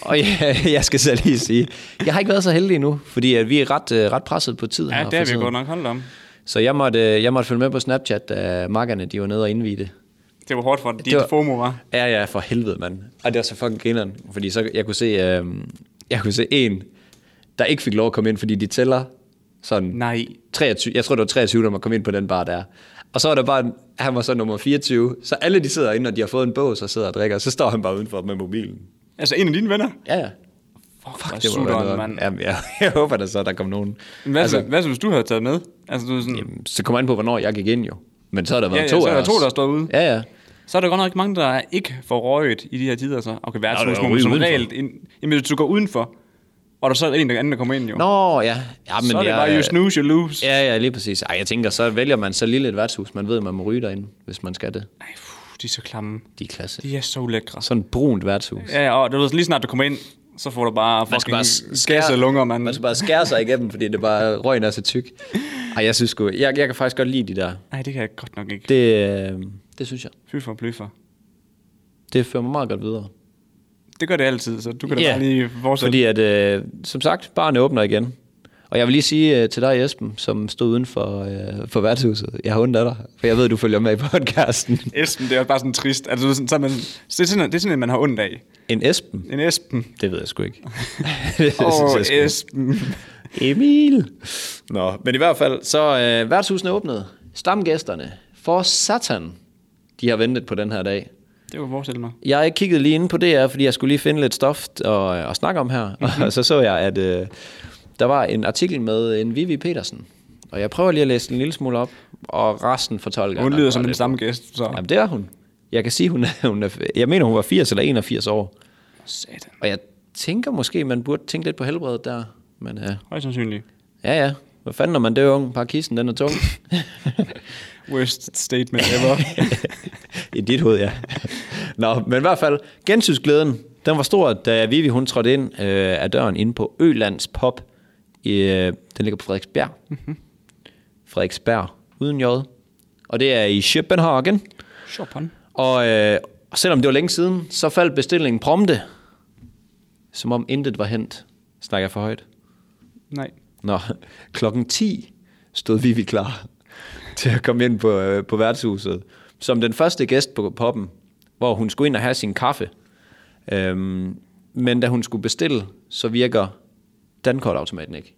Speaker 2: og ja, jeg skal så lige sige, jeg har ikke været så heldig endnu, fordi at vi er ret, øh, ret presset på tiden.
Speaker 1: Ja,
Speaker 2: her
Speaker 1: det
Speaker 2: for
Speaker 1: er vi
Speaker 2: tiden.
Speaker 1: jo godt nok holdt om.
Speaker 2: Så jeg måtte, øh, jeg måtte følge med på Snapchat, da makkerne de var nede og indvide det.
Speaker 1: Det var hårdt for dit
Speaker 2: Det var-
Speaker 1: var... FOMO, var.
Speaker 2: Ja, ja, for helvede, mand. Og det var så fucking grineren, fordi så, jeg kunne se, øh, jeg kunne se en, der ikke fik lov at komme ind, fordi de tæller sådan
Speaker 1: Nej.
Speaker 2: 23, jeg tror, det var 23, der må komme ind på den bar der. Og så var der bare, en- han var så nummer 24, så alle de sidder inde, og de har fået en bås og sidder og drikker, og så står han bare udenfor med mobilen.
Speaker 1: Altså, en af dine venner?
Speaker 2: Ja, ja.
Speaker 1: Fuck, Fuck
Speaker 2: Det
Speaker 1: det
Speaker 2: må være
Speaker 1: var
Speaker 2: noget.
Speaker 1: mand.
Speaker 2: Jamen, jeg, jeg håber da så, der kom nogen.
Speaker 1: Men Hvad, altså,
Speaker 2: altså,
Speaker 1: hvad så, hvis du havde taget med? Altså, du er sådan, jamen,
Speaker 2: så kommer an på, hvornår jeg gik ind jo. Men så har der været
Speaker 1: Ja, ja,
Speaker 2: to
Speaker 1: så er
Speaker 2: af
Speaker 1: der
Speaker 2: os.
Speaker 1: to, der står ude.
Speaker 2: Ja, ja.
Speaker 1: så er der godt nok mange, der ikke får røget i de her tider. Så. Okay,
Speaker 2: Nå,
Speaker 1: værtshus
Speaker 2: der er
Speaker 1: må
Speaker 2: ude
Speaker 1: man som
Speaker 2: udenfor.
Speaker 1: regel... Ind, jamen, hvis du går udenfor, og der så er en der anden, der kommer ind, jo.
Speaker 2: Nå, ja. ja men
Speaker 1: så er det
Speaker 2: jeg,
Speaker 1: bare, you snooze, you lose.
Speaker 2: Ja, ja, lige præcis. Ej, jeg tænker, så vælger man så lille et værtshus. Man ved, at man må ryge derinde, hvis man skal det.
Speaker 1: Ej, puh, de er så klamme.
Speaker 2: De er klasse.
Speaker 1: De er så lækre.
Speaker 2: Sådan et brunt værtshus.
Speaker 1: Ja, og du ved, lige snart du kommer ind, så får du bare
Speaker 2: Man skal
Speaker 1: fucking
Speaker 2: bare
Speaker 1: skæsse
Speaker 2: skære,
Speaker 1: lunger, mand.
Speaker 2: Man skal bare skære sig igennem, fordi det er bare røgen er så tyk. Ej, jeg synes sgu, jeg, jeg kan faktisk godt lide de der.
Speaker 1: Nej, det kan jeg godt nok ikke.
Speaker 2: Det, øh, det synes jeg.
Speaker 1: Fy for bløffer.
Speaker 2: Det fører mig meget godt videre.
Speaker 1: Det gør det altid, så du kan da
Speaker 2: Ja,
Speaker 1: bare lige fortsætte.
Speaker 2: Fordi at, øh, som sagt, barnet åbner igen. Og jeg vil lige sige øh, til dig, Esben, som stod uden for, øh, for værtshuset, jeg har ondt af dig, for jeg ved, du følger med i podcasten.
Speaker 1: Esben, det er bare sådan trist. Altså, du ved, sådan, så er man, det, er sådan, det er sådan, at man har ondt af.
Speaker 2: En Esben?
Speaker 1: En Esben.
Speaker 2: Det ved jeg sgu ikke. det
Speaker 1: Åh,
Speaker 2: synes jeg sgu.
Speaker 1: Esben.
Speaker 2: Emil! Nå, men i hvert fald, så øh, værtshusene åbnede. Stamgæsterne, for satan, de har ventet på den her dag.
Speaker 1: Det var forestille mig.
Speaker 2: Jeg kiggede lige inde på DR, fordi jeg skulle lige finde lidt stof og, og snakke om her. Mm-hmm. Og så så jeg, at øh, der var en artikel med en Vivi Petersen. Og jeg prøver lige at læse den en lille smule op, og resten fortolker jeg
Speaker 1: Hun
Speaker 2: nok
Speaker 1: lyder
Speaker 2: bare
Speaker 1: som en
Speaker 2: lidt.
Speaker 1: stamgæst, så...
Speaker 2: Jamen, det er hun. Jeg kan sige, hun er, hun er, jeg mener, hun var 80 eller 81 år.
Speaker 1: Satan.
Speaker 2: Og jeg tænker måske, man burde tænke lidt på helbredet der. Men øh,
Speaker 1: Højst sandsynligt.
Speaker 2: ja, ja. Hvad fanden, når man dør ung? Bare kissen, den er tung.
Speaker 1: Worst statement ever.
Speaker 2: I dit hoved, ja. Nå, men i hvert fald, gensynsglæden, den var stor, da Vivi hun trådte ind øh, af døren inde på Ølands Pop. I, øh, den ligger på Frederiksberg. Mm-hmm. Frederiksberg, uden J. Og det er i Schøbenhagen.
Speaker 1: Chopin.
Speaker 2: Og øh, selvom det var længe siden, så faldt bestillingen prompte. Som om intet var hent. Snakker jeg for højt?
Speaker 1: Nej.
Speaker 2: Nå, klokken 10 stod Vivi klar til at komme ind på, øh, på værtshuset. Som den første gæst på poppen, hvor hun skulle ind og have sin kaffe. Øhm, men da hun skulle bestille, så virker dankortautomaten ikke.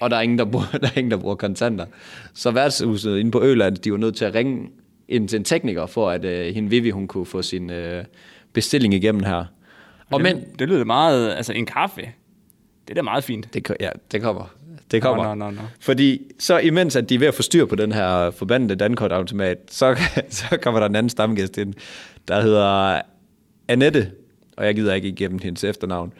Speaker 2: Og der er, ingen, der, bruger, der er ingen, der bruger kontanter. Så værtshuset inde på Øland, de var nødt til at ringe ind til en tekniker, for at øh, hende Vivi, hun kunne få sin øh, bestilling igennem her. Og men,
Speaker 1: Det, det lyder meget... Altså, en kaffe. Det er da meget fint.
Speaker 2: det, ko- ja, det kommer. Det kommer.
Speaker 1: Nå, nå, nå, nå.
Speaker 2: Fordi så imens, at de er ved at få styr på den her forbandede dankortautomat, så, så kommer der en anden stamgæst ind, der hedder Annette, og jeg gider ikke igennem hendes efternavn.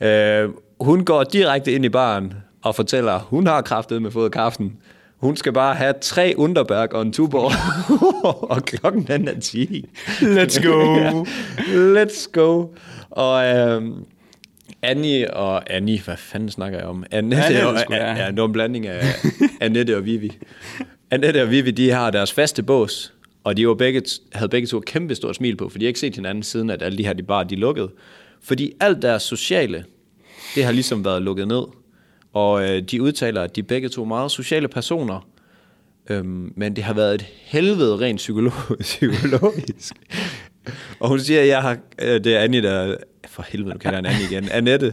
Speaker 2: Øh, hun går direkte ind i baren og fortæller, hun har kraftet med fået kaffen. Hun skal bare have tre underberg og en tuborg, og klokken den er 10.
Speaker 1: Let's go.
Speaker 2: Let's go. Og øhm, Annie og Annie, hvad fanden snakker jeg om? Annette,
Speaker 1: Annette,
Speaker 2: og,
Speaker 1: sgu,
Speaker 2: ja.
Speaker 1: ja.
Speaker 2: Ja, det var en blanding af Annette og Vivi. Annette og Vivi, de har deres faste bås, og de var begge, havde begge to et kæmpe stort smil på, for de har ikke set hinanden siden, at alle de her de bare de lukkede. Fordi alt deres sociale, det har ligesom været lukket ned. Og øh, de udtaler, at de er begge to meget sociale personer, Øhm, men det har været et helvede rent psykolo- psykologisk. Og hun siger, jeg har, øh, det er Annie, der, for helvede, nu kalder jeg hende Annie igen, Annette,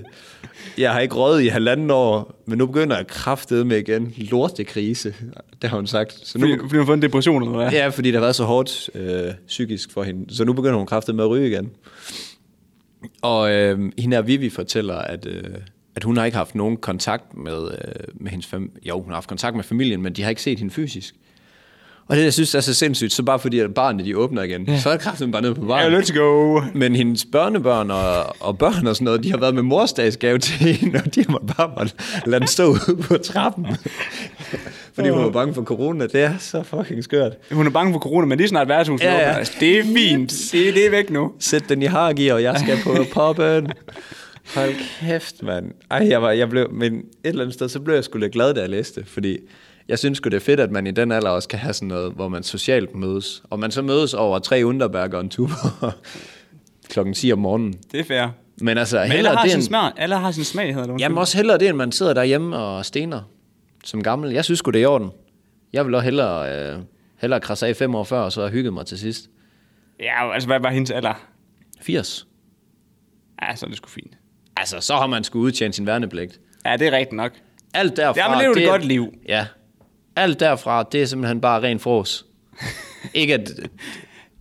Speaker 2: jeg har ikke røget i halvanden år, men nu begynder jeg kraftede med igen, lortekrise, det har hun sagt. Så nu,
Speaker 1: Fordi, fordi hun har fået en depression eller hvad?
Speaker 2: ja, fordi det har været så hårdt øh, psykisk for hende, så nu begynder hun kraftede med at ryge igen. Og øh, hende her Vivi fortæller, at, øh, at hun har ikke haft nogen kontakt med, øh, med hendes familie. Jo, hun har haft kontakt med familien, men de har ikke set hende fysisk. Og det, jeg synes er så sindssygt, så bare fordi at barnet de åbner igen, ja. så er kraften bare nede på
Speaker 1: Yeah,
Speaker 2: vejen.
Speaker 1: let's go.
Speaker 2: Men hendes børnebørn og, og børn og sådan noget, de har været med morsdagsgave til hende, og de har måttet bare måtte lade den stå ude på trappen. Fordi hun var bange for corona. Det er så fucking skørt.
Speaker 1: Hun er bange for corona, men lige snart værtshuset
Speaker 2: Ja,
Speaker 1: ja,
Speaker 2: ja.
Speaker 1: ja. Det er fint. Det, er- det er væk nu.
Speaker 2: Sæt den i hargear, og jeg skal på poppen. Hold kæft, mand. Ej, jeg, var, jeg blev, men et eller andet sted, så blev jeg sgu lidt glad, da jeg læste det, fordi jeg synes sgu, det er fedt, at man i den alder også kan have sådan noget, hvor man socialt mødes. Og man så mødes over tre underbærker og en tuber klokken 10 om morgenen.
Speaker 1: Det er fair.
Speaker 2: Men altså,
Speaker 1: Men alle har,
Speaker 2: det
Speaker 1: sin
Speaker 2: end-
Speaker 1: smag, alle har sin smag, hedder det.
Speaker 2: Jamen også hellere det, end man sidder derhjemme og stener som gammel. Jeg synes sgu, det er i orden. Jeg vil også hellere, øh, hellere krasse af fem år før, og så have hygget mig til sidst.
Speaker 1: Ja, altså, hvad var hendes alder?
Speaker 2: 80.
Speaker 1: Ja, så er det sgu fint.
Speaker 2: Altså, så har man sgu udtjent sin værnepligt.
Speaker 1: Ja, det er rigtigt nok.
Speaker 2: Alt derfra...
Speaker 1: Ja, man lever et godt liv.
Speaker 2: Ja. Alt derfra, det er simpelthen bare ren frås. Ikke at,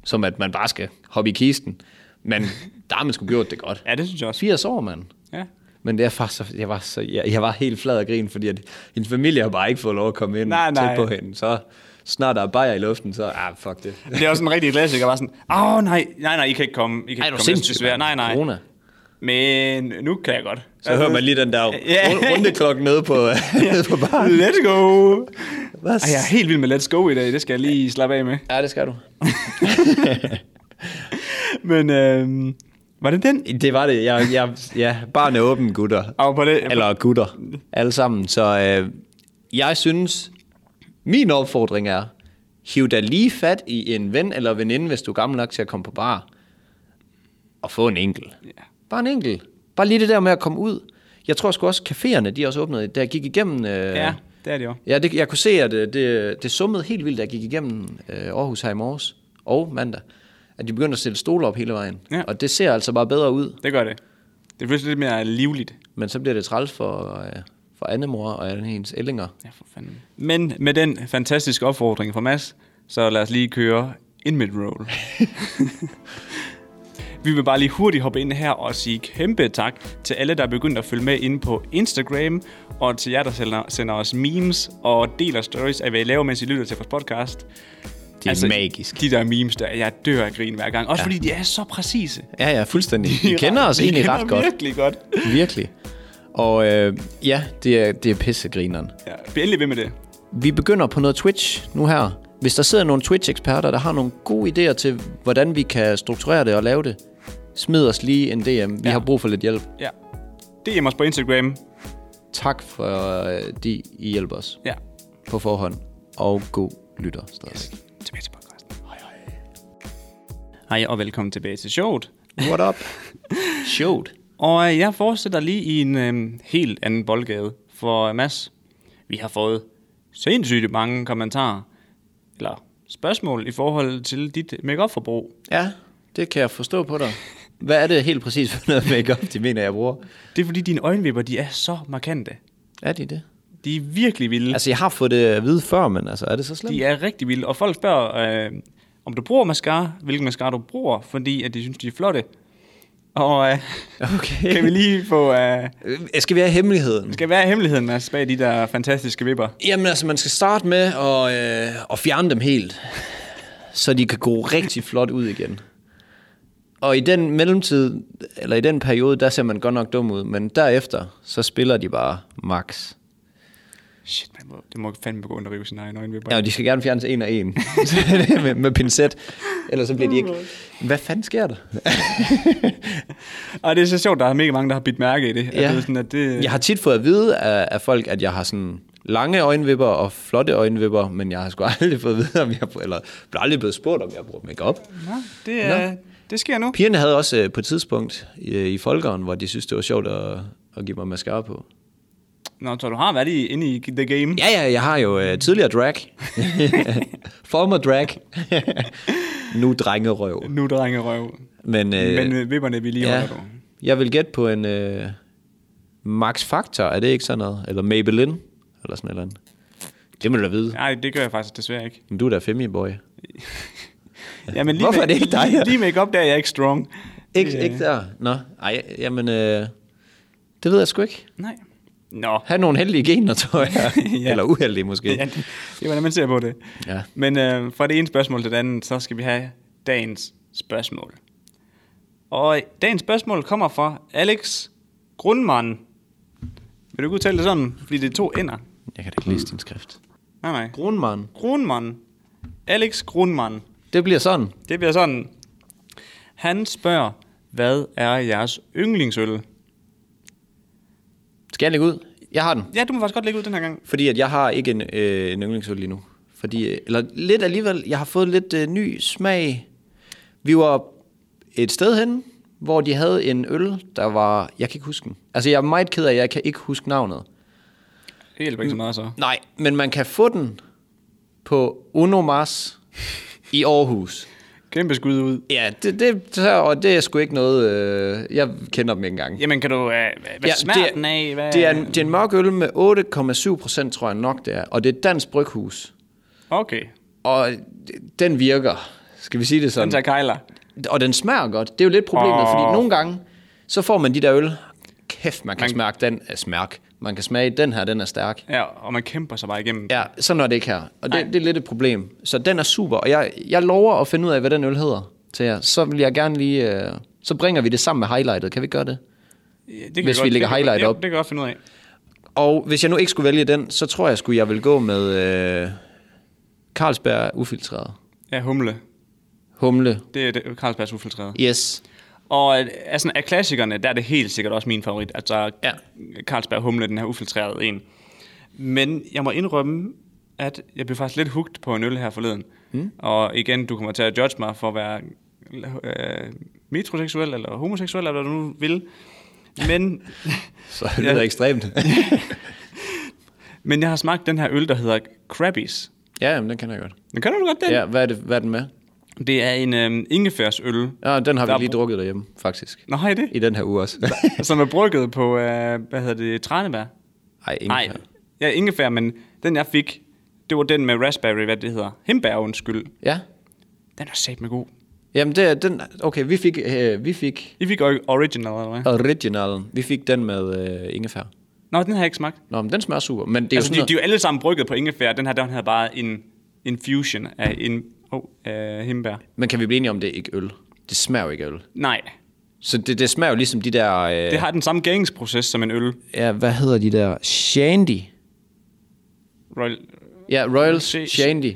Speaker 2: som at man bare skal hoppe i kisten, men der har man sgu gjort det godt.
Speaker 1: Ja, det synes jeg også.
Speaker 2: 80 år, mand.
Speaker 1: Ja.
Speaker 2: Men det er faktisk, så- jeg var, så, jeg, jeg var helt flad af grin, fordi at hendes familie har bare ikke fået lov at komme ind
Speaker 1: Nej, nej.
Speaker 2: tæt på hende. Så snart der er bajer i luften, så ah, fuck det.
Speaker 1: Det er også en rigtig klassiker, bare sådan, åh oh, nej, nej, nej, I kan ikke komme. I kan
Speaker 2: Ej, du
Speaker 1: ikke komme.
Speaker 2: er sindssyg,
Speaker 1: desværre. Nej,
Speaker 2: mand.
Speaker 1: nej.
Speaker 2: Corona.
Speaker 1: Men nu kan jeg godt.
Speaker 2: Så hører man lige den der
Speaker 1: Ja.
Speaker 2: yeah. rundeklokke nede på, nede på baren.
Speaker 1: Let's go!
Speaker 2: Hvad?
Speaker 1: Ej, jeg er helt vild med let's go i dag. Det skal jeg lige slappe af med.
Speaker 2: Ja, det skal du.
Speaker 1: Men øhm, var det den?
Speaker 2: Det var det. Jeg, jeg, ja, barn er åben, gutter.
Speaker 1: Og på det,
Speaker 2: Eller gutter. Alle sammen. Så øh, jeg synes, min opfordring er, hiv dig lige fat i en ven eller veninde, hvis du er gammel nok til at komme på bar. Og få en enkel.
Speaker 1: Ja.
Speaker 2: Bare en enkel. Bare lige det der med at komme ud. Jeg tror sgu også, caféerne, de er også åbnede. Da jeg gik igennem... Øh,
Speaker 1: ja, det er det jo.
Speaker 2: Ja, det, jeg kunne se, at øh, det, det summede helt vildt, da jeg gik igennem øh, Aarhus her i morges og mandag, at de begyndte at stille stole op hele vejen.
Speaker 1: Ja.
Speaker 2: Og det ser altså bare bedre ud,
Speaker 1: Det gør det. Det er pludselig lidt mere livligt.
Speaker 2: men så bliver det træls for, øh, for andemor og hendes ællinger.
Speaker 1: Ja, for fanden. Men med den fantastiske opfordring fra Mads, så lad os lige køre en mid-roll. Vi vil bare lige hurtigt hoppe ind her og sige kæmpe tak til alle, der er begyndt at følge med inde på Instagram, og til jer, der sender, sender os memes og deler stories af, hvad I laver, mens I lytter til vores podcast. Altså,
Speaker 2: Det er magisk.
Speaker 1: De der memes der, jeg dør af grin hver gang. Også ja. fordi de er så præcise.
Speaker 2: Ja, ja, fuldstændig. Vi kender os
Speaker 1: Vi
Speaker 2: egentlig
Speaker 1: kender
Speaker 2: ret godt.
Speaker 1: virkelig godt.
Speaker 2: Virkelig. Og øh, ja, det er, det er pissegrineren.
Speaker 1: Ja, bliv endelig ved med det.
Speaker 2: Vi begynder på noget Twitch nu her. Hvis der sidder nogle Twitch-eksperter, der har nogle gode idéer til, hvordan vi kan strukturere det og lave det, smid os lige en DM. Vi ja. har brug for lidt hjælp.
Speaker 1: Ja. DM os på Instagram.
Speaker 2: Tak for, øh, de I hjælper os
Speaker 1: Ja.
Speaker 2: på forhånd. Og god lytter stadig. Yes.
Speaker 1: Tilbage til podcasten. Hej, hej. Hej, og velkommen tilbage til showet.
Speaker 2: What up? Sjovt.
Speaker 1: Og øh, jeg fortsætter lige i en øh, helt anden boldgade for øh, Mads. Vi har fået sindssygt mange kommentarer, eller spørgsmål i forhold til dit makeup forbrug
Speaker 2: Ja, det kan jeg forstå på dig. Hvad er det helt præcis for noget makeup, de mener, jeg bruger?
Speaker 1: Det er fordi, dine øjenvipper, de er så markante.
Speaker 2: Er de det?
Speaker 1: De er virkelig vilde.
Speaker 2: Altså, jeg har fået det at vide før, men altså, er det så slemt?
Speaker 1: De er rigtig vilde, og folk spørger, øh, om du bruger mascara, hvilken mascara du bruger, fordi at de synes, de er flotte. Og øh,
Speaker 2: Okay.
Speaker 1: kan vi lige få... Øh,
Speaker 2: Øh, Skal vi have hemmeligheden?
Speaker 1: skal være hemmeligheden, Mads, bag de der fantastiske vipper.
Speaker 2: Jamen, altså, man skal starte med at, øh, at fjerne dem helt, så de kan gå rigtig flot ud igen. Og i den mellemtid, eller i den periode, der ser man godt nok dum ud, men derefter, så spiller de bare max.
Speaker 1: Shit, man må, det må fandme gå under at rive sin egen øjenvipper.
Speaker 2: Ja,
Speaker 1: Ja.
Speaker 2: og de skal gerne fjernes en og en Så det er med, med pincet, ellers så bliver de ikke... Hvad fanden sker der?
Speaker 1: Og det er så sjovt, der er mega mange, der har bidt mærke i det. At
Speaker 2: Ja.
Speaker 1: det er sådan, at det,
Speaker 2: Øh. Jeg har tit fået at vide af, af folk, at jeg har sådan lange øjenvipper og flotte øjenvipper, men jeg har sgu aldrig fået at vide, om jeg bruger, eller blev aldrig blevet spurgt, om jeg bruger makeup.
Speaker 1: Nå, det, er, det sker nu.
Speaker 2: Pigerne havde også øh, på et tidspunkt øh, i folkeren, hvor de synes, det var sjovt at, at give mig mascara på.
Speaker 1: Nå, så du har været i, inde i the game.
Speaker 2: Ja, ja, jeg har jo øh, tidligere drag. Former drag. nu drengerøv.
Speaker 1: Nu drengerøv.
Speaker 2: Men, øh,
Speaker 1: Men øh, vipperne vi lige ja.
Speaker 2: ja,
Speaker 1: holder på.
Speaker 2: jeg vil gætte på en øh, Max Factor, er det ikke sådan noget? Eller Maybelline, eller sådan et eller andet. Det må du da vide.
Speaker 1: Nej, det gør jeg faktisk desværre ikke.
Speaker 2: Men du er da femi-boy.
Speaker 1: Ja, men lige
Speaker 2: Hvorfor er det ikke dig?
Speaker 1: Lige, lige make op der er jeg ikke strong. Øh,
Speaker 2: Ikke,
Speaker 1: Det,
Speaker 2: ikke der? Nå, ej, jamen, øh, det ved jeg sgu ikke.
Speaker 1: Nej. Nå.
Speaker 2: Have nogle heldige gener, tror jeg.
Speaker 1: Ja.
Speaker 2: ja. Eller uheldige måske.
Speaker 1: Ja, det, det er, hvordan man ser på det.
Speaker 2: Ja.
Speaker 1: Men øh, fra det ene spørgsmål til det andet, så skal vi have dagens spørgsmål. Og dagens spørgsmål kommer fra Alex Grundmann. Vil du ikke udtale det sådan? Fordi det er to ender.
Speaker 2: Jeg kan da ikke læse din skrift.
Speaker 1: Nej, nej.
Speaker 2: Grundmann.
Speaker 1: Grundmann. Alex Grundmann.
Speaker 2: Det bliver sådan.
Speaker 1: Det bliver sådan. Han spørger, hvad er jeres yndlingsøl?
Speaker 2: Skal jeg lægge ud? Jeg har den.
Speaker 1: Ja, du må faktisk godt lægge ud den her gang.
Speaker 2: Fordi at jeg har ikke en, øh, en yndlingsøl lige nu. Fordi, øh, eller lidt alligevel, jeg har fået lidt øh, ny smag. Vi var et sted hen, hvor de havde en øl, der var... Jeg kan ikke huske den. Altså, jeg er meget ked af, at jeg kan ikke huske navnet.
Speaker 1: Det hjælper ikke så meget så.
Speaker 2: Nej, men man kan få den på Unomars i Aarhus.
Speaker 1: Kæmpe skud ud.
Speaker 2: Ja, det, det, så- og det er sgu ikke noget... Øh, jeg kender dem ikke engang.
Speaker 1: Jamen, kan du... Øh, hvad ja,
Speaker 2: Ja,
Speaker 1: smager den af? Hvad?
Speaker 2: Det er, en, det er en mørk øl med 8,7 procent, tror jeg nok det er. Og det er et dansk bryghus.
Speaker 1: Okay.
Speaker 2: Og den virker, skal vi sige det
Speaker 1: Den
Speaker 2: sådan.
Speaker 1: tager kejler.
Speaker 2: Og den smager godt. Det er jo lidt problemet,
Speaker 1: Åh.
Speaker 2: oh. fordi nogle gange, så får man de der øl. Kæft, man kan man... smærke den. Er smærk. Man kan smage den her, den er stærk.
Speaker 1: Ja, og man kæmper sig bare igennem.
Speaker 2: Ja, sådan er det ikke her. Og det, det er lidt et problem. Så den er super, og jeg, jeg lover at finde ud af, hvad den øl hedder til jer. Så vil jeg gerne lige... Øh, så bringer vi det sammen med highlightet. Kan vi gøre det?
Speaker 1: Ja, det kan
Speaker 2: Hvis
Speaker 1: jeg
Speaker 2: vi
Speaker 1: godt-
Speaker 2: lægger
Speaker 1: det kan-
Speaker 2: highlight
Speaker 1: ja,
Speaker 2: op.
Speaker 1: Det kan jeg godt finde ud af.
Speaker 2: Og hvis jeg nu ikke skulle vælge den, så tror jeg skulle jeg vil gå med øh, Carlsberg Ufiltreret.
Speaker 1: Ja, humle.
Speaker 2: Humle.
Speaker 1: Det er det, Carlsbergs ufiltreret.
Speaker 2: Yes.
Speaker 1: Og øh, altså, af klassikerne, der er det helt sikkert også min favorit. Altså, ja.
Speaker 2: Ja.
Speaker 1: Carlsberg humle, den her ufiltrerede en. Men jeg må indrømme, at jeg blev faktisk lidt hugt på en øl her forleden. Mm. Og igen, du kommer til at judge mig for at være øh, metroseksuel eller homoseksuel, eller hvad du nu vil. Men
Speaker 2: Så
Speaker 1: det lyder
Speaker 2: ekstremt.
Speaker 1: Men jeg har smagt den her øl, der hedder Krabbies.
Speaker 2: ja, jamen, den kender jeg godt.
Speaker 1: Men kender du godt den?
Speaker 2: Ja, hvad er, det, hvad er den med?
Speaker 1: Det er en øhm, ingefærsøl.
Speaker 2: Ja, den har
Speaker 1: Der er
Speaker 2: vi lige
Speaker 1: br-
Speaker 2: drukket derhjemme, faktisk.
Speaker 1: Nå, har I det?
Speaker 2: I den her uge også.
Speaker 1: Som er brygget på, øh, hvad hedder det, tranebær?
Speaker 2: Ej, ingen
Speaker 1: Nej, ja, ingefær, men den jeg fik, det var den med raspberry, hvad det hedder. Himbær, undskyld.
Speaker 2: Ja.
Speaker 1: Den er satme god.
Speaker 2: Jamen, det, er- den, okay, vi fik, øh, vi fik
Speaker 1: I fik ori- original, eller hvad?
Speaker 2: originalen. Vi fik den med øh, ingefær.
Speaker 1: Nå, den har jeg ikke smagt.
Speaker 2: Nå, men den smager super. Men det er
Speaker 1: altså,
Speaker 2: jo
Speaker 1: de,
Speaker 2: sådan
Speaker 1: de, er jo alle sammen brygget på ingefær. Den her, den havde bare en, en fusion af en oh, øh, himbær.
Speaker 2: noget, men kan vi blive enige om, det er ikke øl? Det smager jo ikke af øl.
Speaker 1: Nej,
Speaker 2: Så det, det smager jo ligesom de der... Øh,
Speaker 1: det har den samme gæringsproces som en øl.
Speaker 2: ja, hvad hedder de der? Shandy.
Speaker 1: Royal,
Speaker 2: Ja, Royal
Speaker 1: Sh-
Speaker 2: Shandy.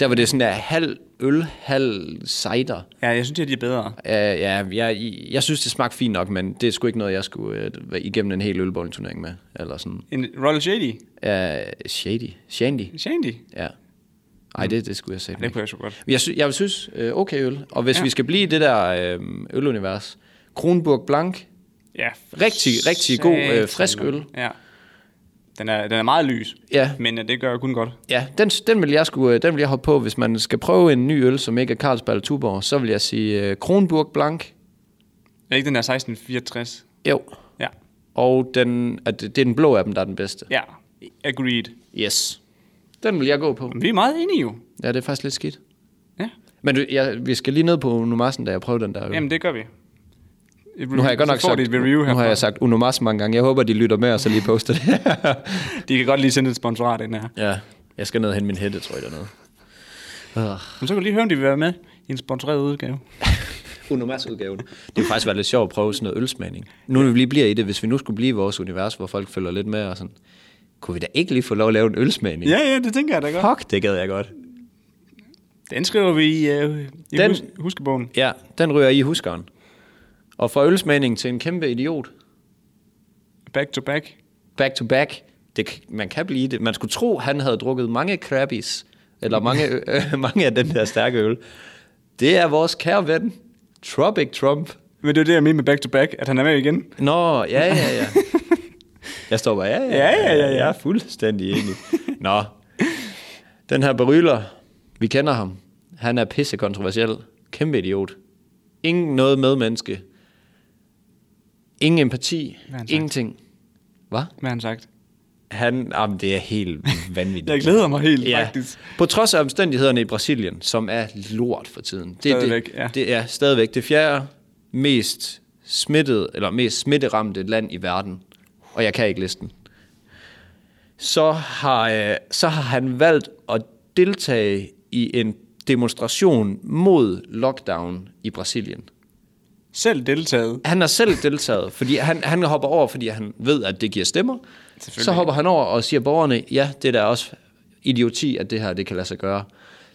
Speaker 2: Der var det sådan der halv øl, halv cider.
Speaker 1: ja, jeg synes, at de er bedre.
Speaker 2: Uh, ja, jeg, jeg synes, det smagte fint nok, men det er sgu ikke noget, jeg skulle uh, igennem en hel ølbowlingturnering med. Eller sådan.
Speaker 1: En Royal Shady.
Speaker 2: Uh, shady. Shandy.
Speaker 1: Shandy.
Speaker 2: Ja. Ej, det, det skulle jeg sige.
Speaker 1: Det kunne jeg så godt.
Speaker 2: Jeg, sy- jeg vil synes, øh, okay øl. Og hvis
Speaker 1: Ja.
Speaker 2: ja. vi skal blive i det der øh, ølunivers, Kronburg Blanc,
Speaker 1: Ja.
Speaker 2: rigtig, rigtig god øh, frisk
Speaker 1: satan.
Speaker 2: øl.
Speaker 1: Ja. Den er, den er meget lys,
Speaker 2: Ja.
Speaker 1: men øh, det gør jo kun godt.
Speaker 2: Ja, den, den, vil jeg sku, øh, den vil jeg hoppe på. Hvis man skal prøve en ny øl, som ikke er Carlsberg eller Tuborg, så vil jeg sige øh, Kronburg Blanc.
Speaker 1: Er ikke den der 1664?
Speaker 2: Jo.
Speaker 1: Ja.
Speaker 2: Og den, at det, det er den blå af dem, der er den bedste.
Speaker 1: Ja. Agreed.
Speaker 2: Yes. Den vil jeg gå på.
Speaker 1: Men vi er meget enige jo.
Speaker 2: Ja, det er faktisk lidt skidt.
Speaker 1: Ja.
Speaker 2: Men du, jeg, vi skal lige ned på Unomassen, da jeg prøver den der øl.
Speaker 1: Jamen, det gør vi.
Speaker 2: nu har jeg godt nok
Speaker 1: så får
Speaker 2: sagt,
Speaker 1: de et review
Speaker 2: nu
Speaker 1: herfra.
Speaker 2: har jeg sagt Unomassen mange gange. Jeg håber, de lytter med, og så lige poster det.
Speaker 1: De kan godt lige sende et sponsorat ind her.
Speaker 2: ja, jeg skal ned og hente min hætte, tror jeg, dernede. Uh.
Speaker 1: Men så kan du lige høre, om de vil være med i en sponsoreret udgave.
Speaker 2: Unomass-udgaven. Det ville faktisk være lidt sjovt at prøve sådan noget ølsmagning. Nu når vi lige bliver i det, hvis vi nu skulle blive i vores univers, hvor folk følger lidt med og sådan, kunne vi da ikke lige få lov at lave en ølsmagning?
Speaker 1: Ja, ja, det tænker jeg da godt.
Speaker 2: Fuck, det gad jeg godt.
Speaker 1: Den skriver vi i, øh, i den...
Speaker 2: Den-
Speaker 1: hus- huskebogen.
Speaker 2: Ja, den ryger i huskeren. Og fra ølsmagning til en kæmpe idiot,
Speaker 1: Back to back.
Speaker 2: back to back, det, k- man kan blive det. Man skulle tro, han havde drukket mange Krabbies, eller mange, øh, mange af den der stærke øl. Det er vores kære ven, Tropic Trump.
Speaker 1: Men det er det, jeg mener med back to back, at han er med igen.
Speaker 2: Nå, ja, ja, ja. Jeg står bare, ja, ja,
Speaker 1: Ja, ja, ja, ja.
Speaker 2: Jeg er fuldstændig enig. Nå. Den her beryler, vi kender ham. Han er pissekontroversiel. Kæmpe idiot. Ingen noget medmenneske. Ingen empati.
Speaker 1: Hvad har han sagt?
Speaker 2: Ingenting. Hvad?
Speaker 1: Hvad har han sagt?
Speaker 2: Han, jamen, det er helt vanvittigt.
Speaker 1: Jeg glæder mig helt,
Speaker 2: ja.
Speaker 1: faktisk.
Speaker 2: På trods af omstændighederne i Brasilien, som er lort for tiden. Det,
Speaker 1: Stadigvæk,
Speaker 2: det,
Speaker 1: ja.
Speaker 2: Det er stadigvæk det fjerde mest smittede, eller mest smitteramte land i verden. Og jeg kan ikke listen. Så har, øh, så har han valgt at deltage i en demonstration mod lockdown i Brasilien.
Speaker 1: Selv deltaget.
Speaker 2: Han har selv deltaget, fordi han, han hopper over, fordi han ved, at det giver stemmer.
Speaker 1: Selvfølgelig.
Speaker 2: Så hopper han over og siger borgerne, ja, det er da også idioti, at det her det kan lade sig gøre.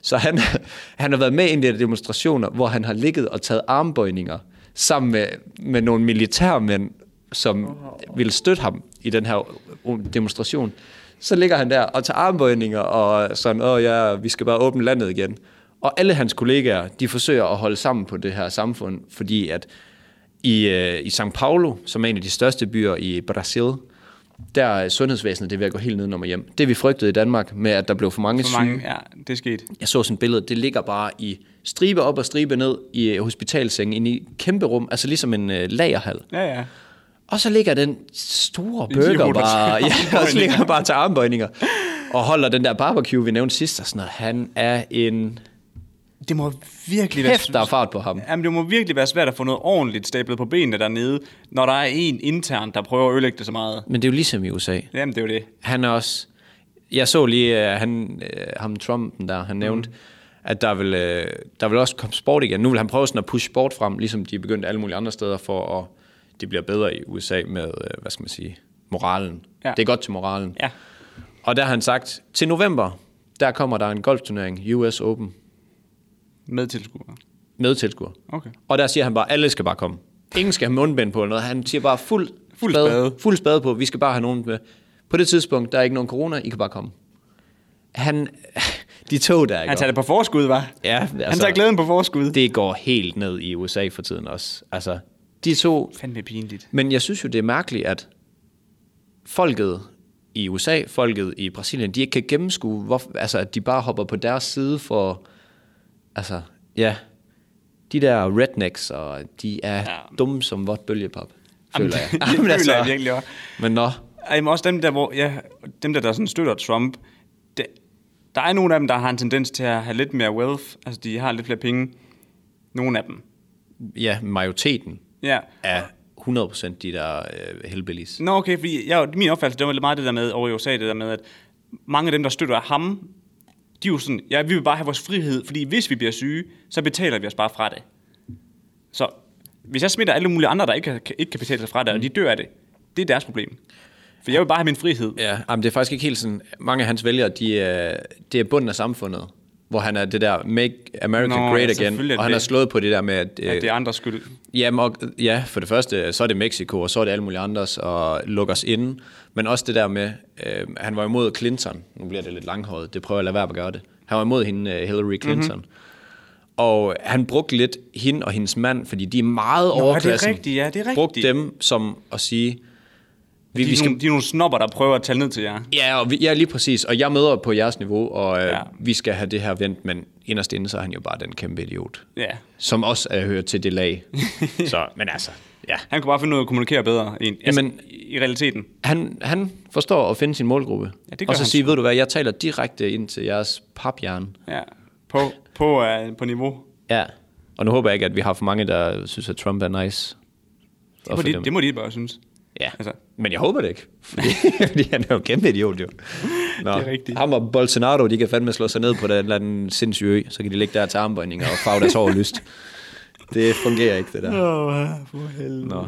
Speaker 2: Så han, han har været med i en af de der demonstrationer, hvor han har ligget og taget armbøjninger sammen med, med nogle militærmænd, som ville støtte ham i den her demonstration. Så ligger han der og tager armbøjninger og sådan, åh ja, vi skal bare åbne landet igen. Og alle hans kollegaer, de forsøger at holde sammen på det her samfund, fordi at i, øh, i São Paulo, som er en af de største byer i Brasil, der er sundhedsvæsenet det er ved at gå helt nedenom og hjem. Det vi frygtede i Danmark med, at der blev for mange,
Speaker 1: For
Speaker 2: syge.
Speaker 1: mange, ja, det er sket.
Speaker 2: Jeg så sådan et billede, det ligger bare i stribe op og stribe ned i øh, hospitalsengen, inde i et kæmpe rum, altså ligesom en øh, lagerhal.
Speaker 1: Ja, ja.
Speaker 2: Og så ligger den store
Speaker 1: En idiot,
Speaker 2: burger
Speaker 1: der
Speaker 2: bare,
Speaker 1: tager
Speaker 2: ja, og så ligger han bare til armbøjninger. Og holder den der barbecue, vi nævnte sidst, og sådan noget. Han er en
Speaker 1: Det må virkelig
Speaker 2: hæft, der
Speaker 1: være...
Speaker 2: er fart på ham.
Speaker 1: Jamen, det må virkelig være svært at få noget ordentligt stablet på benene dernede, når der er en internt, der prøver at ødelægge det så meget.
Speaker 2: Men det er jo ligesom i USA.
Speaker 1: Jamen, det er jo det.
Speaker 2: han er også... Jeg så lige, uh, han, uh, ham Trumpen der, han nævnte, mm. at der vil, uh, der vil også komme sport igen. Nu vil han prøve sådan at pushe sport frem, ligesom de er begyndt alle mulige andre steder, for at det bliver bedre i USA med, uh, hvad skal man sige, moralen.
Speaker 1: Ja.
Speaker 2: Ja. Det er godt til moralen.
Speaker 1: Ja.
Speaker 2: Og der har han sagt, til november, der kommer der en golfturnering, US Open,
Speaker 1: Med tilskuere.
Speaker 2: med tilskuer.
Speaker 1: Okay.
Speaker 2: Og der siger han bare, alle skal bare komme. Ingen skal have mundbind på eller noget. Han siger bare fuld,
Speaker 1: Fuld
Speaker 2: fuld,
Speaker 1: spade.
Speaker 2: spade. fuld spade på. Vi skal bare have nogen med. På det tidspunkt, der er ikke nogen corona. I kan bare komme. Han, de tog der,
Speaker 1: Han
Speaker 2: ikke?
Speaker 1: tager det på forskud, var.
Speaker 2: Ja,
Speaker 1: Han tager glæden på forskud. altså- Det
Speaker 2: Det går helt ned i USA for tiden også. Altså, de to
Speaker 1: er fandme pinligt.
Speaker 2: men jeg synes jo, det er mærkeligt, at folket i USA, folket i Brasilien, de ikke kan gennemskue, hvor, altså, at de bare hopper på deres side for, altså, ja, de der rednecks, og de er
Speaker 1: Ja.
Speaker 2: ja. dumme som vådt bølgepap,
Speaker 1: Jamen,
Speaker 2: føler jeg. altså,
Speaker 1: det- det føler jeg virkelig også.
Speaker 2: Men nå,
Speaker 1: Ej, men også dem der, hvor, ja, dem der, der sådan støtter Trump, det, der er nogle af dem, der har en tendens til at have lidt mere wealth, altså de har lidt flere penge. Nogle af dem.
Speaker 2: ja, majoriteten
Speaker 1: Ja.
Speaker 2: er 100% de der øh, hellbillies.
Speaker 1: Nå, okay, fordi jeg, min opfattelse, det var lidt meget det der med over i USA, det der med, at mange af dem, der støtter ham, de er jo sådan, ja, vi vil bare have vores frihed, fordi hvis vi bliver syge, så betaler vi os bare fra det. Så hvis jeg smitter alle mulige andre, der ikke kan, ikke kan betale sig fra det, og
Speaker 2: Mm.
Speaker 1: de dør af det, det er deres problem. For jeg vil bare have min frihed.
Speaker 2: Ja, jamen, det er faktisk ikke helt sådan. Mange af hans vælgere, de, er- det er bunden af samfundet, hvor han er det der Make America
Speaker 1: Nå,
Speaker 2: Nå,
Speaker 1: ja,
Speaker 2: Great
Speaker 1: selvfølgelig
Speaker 2: Again,
Speaker 1: er det
Speaker 2: og han har
Speaker 1: det.
Speaker 2: slået på det der med, at,
Speaker 1: At
Speaker 2: øh,
Speaker 1: det er andres skyld.
Speaker 2: Jamen, og, ja, for det første, så er det Mexico, og så er det alle mulige andres, og lukker os inde. Men også det der med, øh, han var imod Clinton. Nu bliver det lidt langhåret, det prøver jeg at lade være med at gøre det. Han var imod hende, øh, Hillary
Speaker 1: Mhm.
Speaker 2: Clinton. Mm-hmm. Og han brugte lidt hende og hendes mand, fordi de er meget
Speaker 1: det er
Speaker 2: overklassen.
Speaker 1: rigtigt, ja, det er
Speaker 2: Brugte
Speaker 1: rigtigt.
Speaker 2: dem som at sige, vi,
Speaker 1: De,
Speaker 2: vi
Speaker 1: er
Speaker 2: skal
Speaker 1: nogle, de er nogle snopper, der prøver at tale ned til jer.
Speaker 2: Ja, og vi, ja, lige præcis. Og jeg møder på jeres niveau, og øh,
Speaker 1: Ja.
Speaker 2: ja. vi skal have det her vendt, men inderst inde, så er han jo bare den kæmpe idiot.
Speaker 1: Ja.
Speaker 2: Som også øh, hører til det lag. så, men altså, ja.
Speaker 1: Han kunne bare finde ud af at kommunikere bedre en, altså,
Speaker 2: Jamen-
Speaker 1: i realiteten.
Speaker 2: Han, han forstår at finde sin målgruppe.
Speaker 1: Ja, det gør
Speaker 2: og så
Speaker 1: han
Speaker 2: sige, ved du hvad, jeg taler direkte ind til jeres paphjerne.
Speaker 1: Ja. På, på, uh, på niveau.
Speaker 2: Ja. Og nu håber jeg ikke, at vi har for mange, der synes, at Trump er nice.
Speaker 1: Det må, de, det må de bare synes.
Speaker 2: Ja,
Speaker 1: altså.
Speaker 2: altså. men jeg håber det ikke. Fordi, fordi han er jo kæmpe idiot, jo. Nå,
Speaker 1: Det er rigtigt.
Speaker 2: Ham og Bolsonaro, de kan fandme slå sig ned på den eller anden sindssyge ø, så kan de ligge der til armbøjninger og farve deres hår lyst. Det fungerer ikke, det der.
Speaker 1: Åh, oh, for helvede.
Speaker 2: Nå.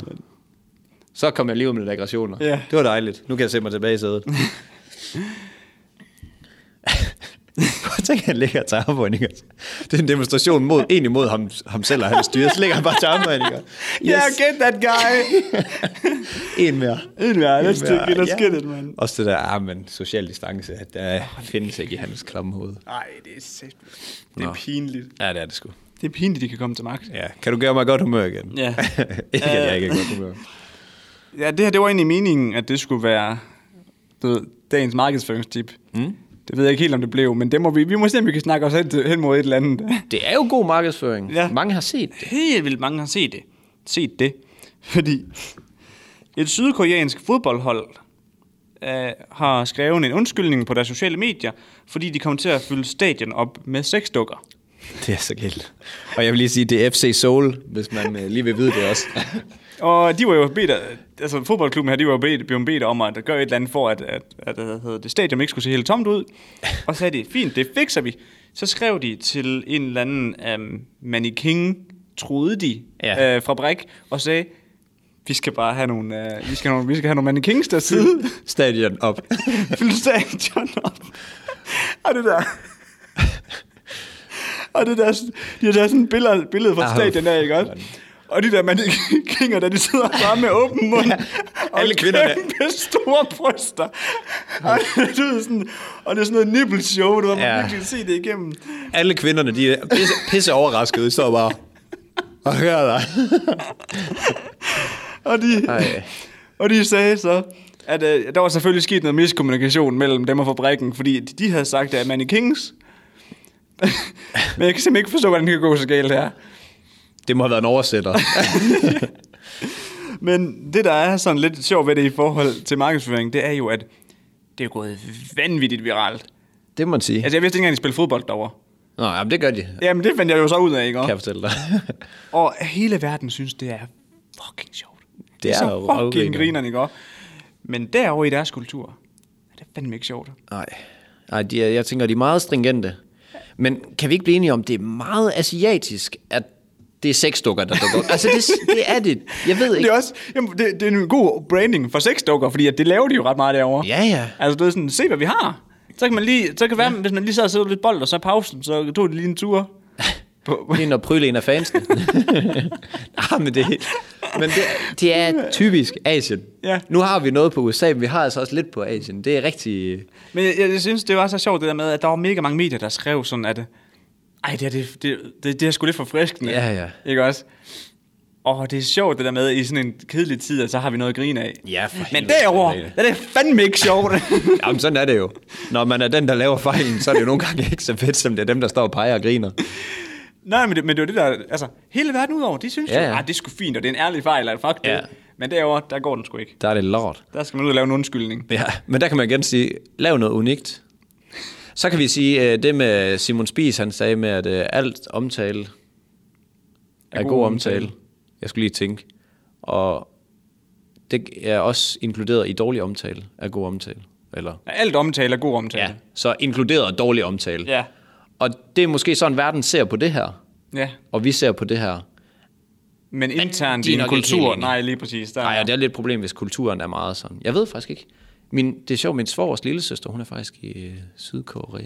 Speaker 2: Så kom jeg lige ud med lidt aggressioner.
Speaker 1: Ja.
Speaker 2: Det var dejligt. Nu kan jeg sætte mig tilbage i sædet. Prøv at tænke, at han ligger til armbøjninger. Det er en demonstration mod, egentlig mod ham, ham selv og hans styre. Så ligger han bare til armbøjninger. Yes,
Speaker 1: Yeah, get that guy!
Speaker 2: en mere.
Speaker 1: En mere, let's
Speaker 2: En mere,
Speaker 1: take it, let's
Speaker 2: ja.
Speaker 1: get it, man.
Speaker 2: Også det der, ah, men social distance, at der findes ikke i hans klamme hoved.
Speaker 1: Nej, det er sæt. Det er
Speaker 2: Nå.
Speaker 1: pinligt.
Speaker 2: Ja, det er det sgu.
Speaker 1: Det er pinligt, de kan komme til magt.
Speaker 2: Ja. Kan du gøre mig godt humør igen?
Speaker 1: Ja.
Speaker 2: ikke, at jeg ikke er i godt humør.
Speaker 1: Ja, det her, det var egentlig meningen, at det skulle være du ved, dagens markedsføringstip. Mm. Det ved jeg ikke helt, om det blev, men det må vi, vi må se, om vi kan snakke os hen, til- hen mod et eller andet.
Speaker 2: Det er jo god markedsføring.
Speaker 1: Ja.
Speaker 2: Ja. Mange har set det.
Speaker 1: Helt vildt mange har set det. Set det. Fordi et sydkoreansk fodboldhold øh, har skrevet en undskyldning på deres sociale medier, fordi de kom til at fylde stadion op med sexdukker.
Speaker 2: Det er så galt. Og jeg vil lige sige, det er FC Seoul, hvis man øh, lige vil vide det også.
Speaker 1: Og de var jo bedt, af- altså fodboldklubben her, de var jo bedt, blevet bedt om at gøre et eller andet for, at, at, at, at, at det stadion ikke skulle se helt tomt ud. Og så sagde de, fint, det fikser vi. Så skrev de til en eller anden um, mannequin, troede de, ja.
Speaker 2: Ja.
Speaker 1: øh, fra Brik, og sagde, vi skal bare have nogle, øh, vi skal have nogle, vi skal have nogle mannequins der side.
Speaker 2: Stadion op.
Speaker 1: Fylde stadion op. Og det der... Og det der, de har taget sådan et billede, billede fra
Speaker 2: Ah,
Speaker 1: stadion der, ikke også? Og de der mannekinger, der de sidder bare med åben mund. og
Speaker 2: Alle kvinderne.
Speaker 1: Kæmpe store bryster. Og det, er sådan, og det er sådan noget nippelshow, du har
Speaker 2: Ja.
Speaker 1: virkelig se det igennem.
Speaker 2: Alle kvinderne, de er pisse, pisse overraskede, står bare og hører dig.
Speaker 1: Og de,
Speaker 2: Ej.
Speaker 1: og de sagde så, at øh, der var selvfølgelig sket noget miskommunikation mellem dem og fabrikken, fordi de, de havde sagt, at man i Kings. Men jeg kan simpelthen ikke forstå, hvordan det kan gå så galt her.
Speaker 2: Det må have været en oversætter.
Speaker 1: Men det, der er sådan lidt sjovt ved det i forhold til markedsføring, det er jo, at det er gået vanvittigt viralt.
Speaker 2: Det må man sige.
Speaker 1: Altså, jeg vidste ikke engang, at de spillede fodbold derovre.
Speaker 2: Nå, jamen, det gør de, kan
Speaker 1: Jamen, det fandt jeg jo så ud af, ikke?
Speaker 2: jeg fortælle dig.
Speaker 1: Og hele verden synes, det er fucking sjovt. Det,
Speaker 2: er
Speaker 1: så
Speaker 2: jo
Speaker 1: fucking
Speaker 2: røvgrineren.
Speaker 1: grinerne, ikke? Men derovre i deres kultur, er det fandme ikke sjovt.
Speaker 2: Nej, Nej de er, jeg tænker, de er meget stringente. Men kan vi ikke blive enige om, det er meget asiatisk, at det er sexdukker, der dukker op? Altså, det, det er det. Jeg ved
Speaker 1: Det
Speaker 2: ikke.
Speaker 1: er også, jamen, det, det er en god branding for sexdukker, fordi at det laver de jo ret meget derovre.
Speaker 2: Ja, ja.
Speaker 1: Altså, du ved sådan, se hvad vi har. Så kan man lige, så kan være, hvis man lige sad og sidder lidt bold, og så i pausen, så tog de lige en tur. På,
Speaker 2: Lige når pryl en af fansene. Nej, men det, men det, det er typisk Asien.
Speaker 1: Ja.
Speaker 2: Nu har vi noget på USA, men vi har altså også lidt på Asien. Det er rigtig...
Speaker 1: Men jeg, jeg, jeg synes, det var så sjovt det der med, at der var mega mange medier, der skrev sådan, at øh, ej, det, er- det, det, det, det er sgu lidt forfriskende.
Speaker 2: Ja, ja.
Speaker 1: Ikke også? Og det er sjovt det der med, at i sådan en kedelig tid, at så har vi noget at grine af.
Speaker 2: Ja, for
Speaker 1: Men
Speaker 2: helvede,
Speaker 1: derovre,
Speaker 2: det er
Speaker 1: der er det fandme ikke sjovt.
Speaker 2: Jamen, sådan er det jo. Når man er den, der laver fejlen, så er det jo nogle gange ikke så fedt, som det er dem, der står og peger og griner.
Speaker 1: Nej, men det, men det var det der, altså, hele verden udover, de synes
Speaker 2: Ja,
Speaker 1: jo,
Speaker 2: ja.
Speaker 1: "Ah, det er sgu fint, og det er en ærlig fejl, og fuck det.
Speaker 2: Ja.
Speaker 1: Men derovre, der går den sgu ikke.
Speaker 2: Der er det lort.
Speaker 1: Der skal man ud og lave en undskyldning.
Speaker 2: Ja, men der kan man igen sige, lav noget unikt. Så kan vi sige, øh, det med Simon Spies, han sagde med, at øh, alt omtale er god, god omtale. Jeg skulle lige tænke. Og det er også inkluderet i dårlig omtale er god omtale. Eller,
Speaker 1: Alt omtale er god omtale.
Speaker 2: ja, så inkluderet dårlig omtale.
Speaker 1: Ja.
Speaker 2: Og det er måske sådan, verden ser på det her,
Speaker 1: ja.
Speaker 2: og vi ser på det her.
Speaker 1: Men internt
Speaker 2: de er
Speaker 1: i en
Speaker 2: nok ikke helt
Speaker 1: kultur,
Speaker 2: enige.
Speaker 1: nej, lige præcis. Der,
Speaker 2: Nej, og det er lidt et problem, hvis kulturen er meget sådan. Jeg ved faktisk ikke. Min, det er sjovt, min svogers lille søster, hun er faktisk i øh, Sydkorea.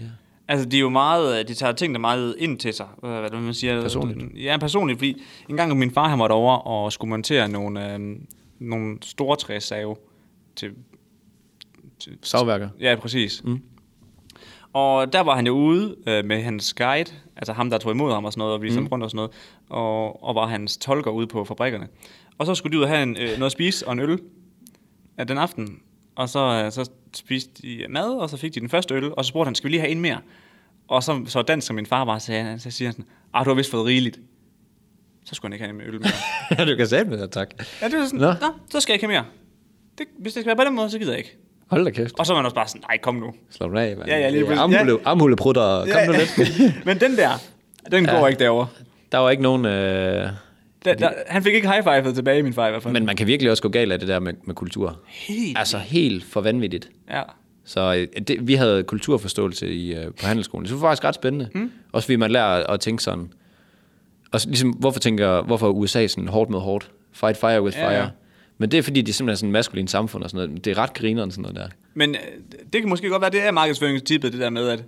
Speaker 1: Altså, de er jo meget, øh, de tager tingene meget ind til sig, øh, hvad man siger.
Speaker 2: Personligt.
Speaker 1: Ja, personligt, fordi en gang min far, han var derovre og skulle montere nogle, øh, nogle store træsave til, til,
Speaker 2: Savværker.
Speaker 1: ja, præcis. Mm. Og der var han jo ude øh, med hans guide, altså ham, der tog imod ham og sådan noget, og viste mm. ham rundt og sådan noget, og, og var hans tolker ude på fabrikkerne. Og så skulle de ud og have en, øh, noget at spise og en øl øh, den aften, og så, øh, så spiste de mad, og så fik de den første øl, og så spurgte han, skal vi lige have en mere? Og så, så dansk, som min far var, sagde han, så siger han sådan, ah, du har vist fået rigeligt. Så skulle han ikke have en øl mere.
Speaker 2: Ja, du kan sætte med dig, tak.
Speaker 1: ja, det var sådan,
Speaker 2: Nå.
Speaker 1: Nå. Nå, så skal jeg ikke have mere. Det, hvis det skal være på den måde, så gider jeg ikke.
Speaker 2: Hold da kæft.
Speaker 1: Og så var man også bare sådan, nej, kom nu.
Speaker 2: Slå den af, mand.
Speaker 1: Ja, ja, lige
Speaker 2: Det er
Speaker 1: præcis.
Speaker 2: Armhule, armhuleprutter. Kom nu lidt.
Speaker 1: Men den der, den ja. går ikke derover.
Speaker 2: Der var ikke nogen... Øh...
Speaker 1: Der, der, han fik ikke high-fivet tilbage, min far i hvert fald.
Speaker 2: Men man kan virkelig også gå galt af det der med, med kultur.
Speaker 1: Helt.
Speaker 2: Altså helt for vanvittigt.
Speaker 1: Ja.
Speaker 2: Så øh, det, vi havde kulturforståelse i, øh, på handelsskolen. Det var faktisk ret spændende.
Speaker 1: Hmm.
Speaker 2: Mm. Også fordi man lærer at tænke sådan. Og så ligesom, hvorfor tænker hvorfor er USA sådan hårdt mod hårdt? Fight fire with
Speaker 1: Ja,
Speaker 2: fire.
Speaker 1: ja.
Speaker 2: Ja, ja. Men det er fordi, de er simpelthen sådan en maskulin samfund og sådan noget. Det er ret grineren sådan noget der.
Speaker 1: Men øh, det kan måske godt være, det er markedsføringstippet, det der med, at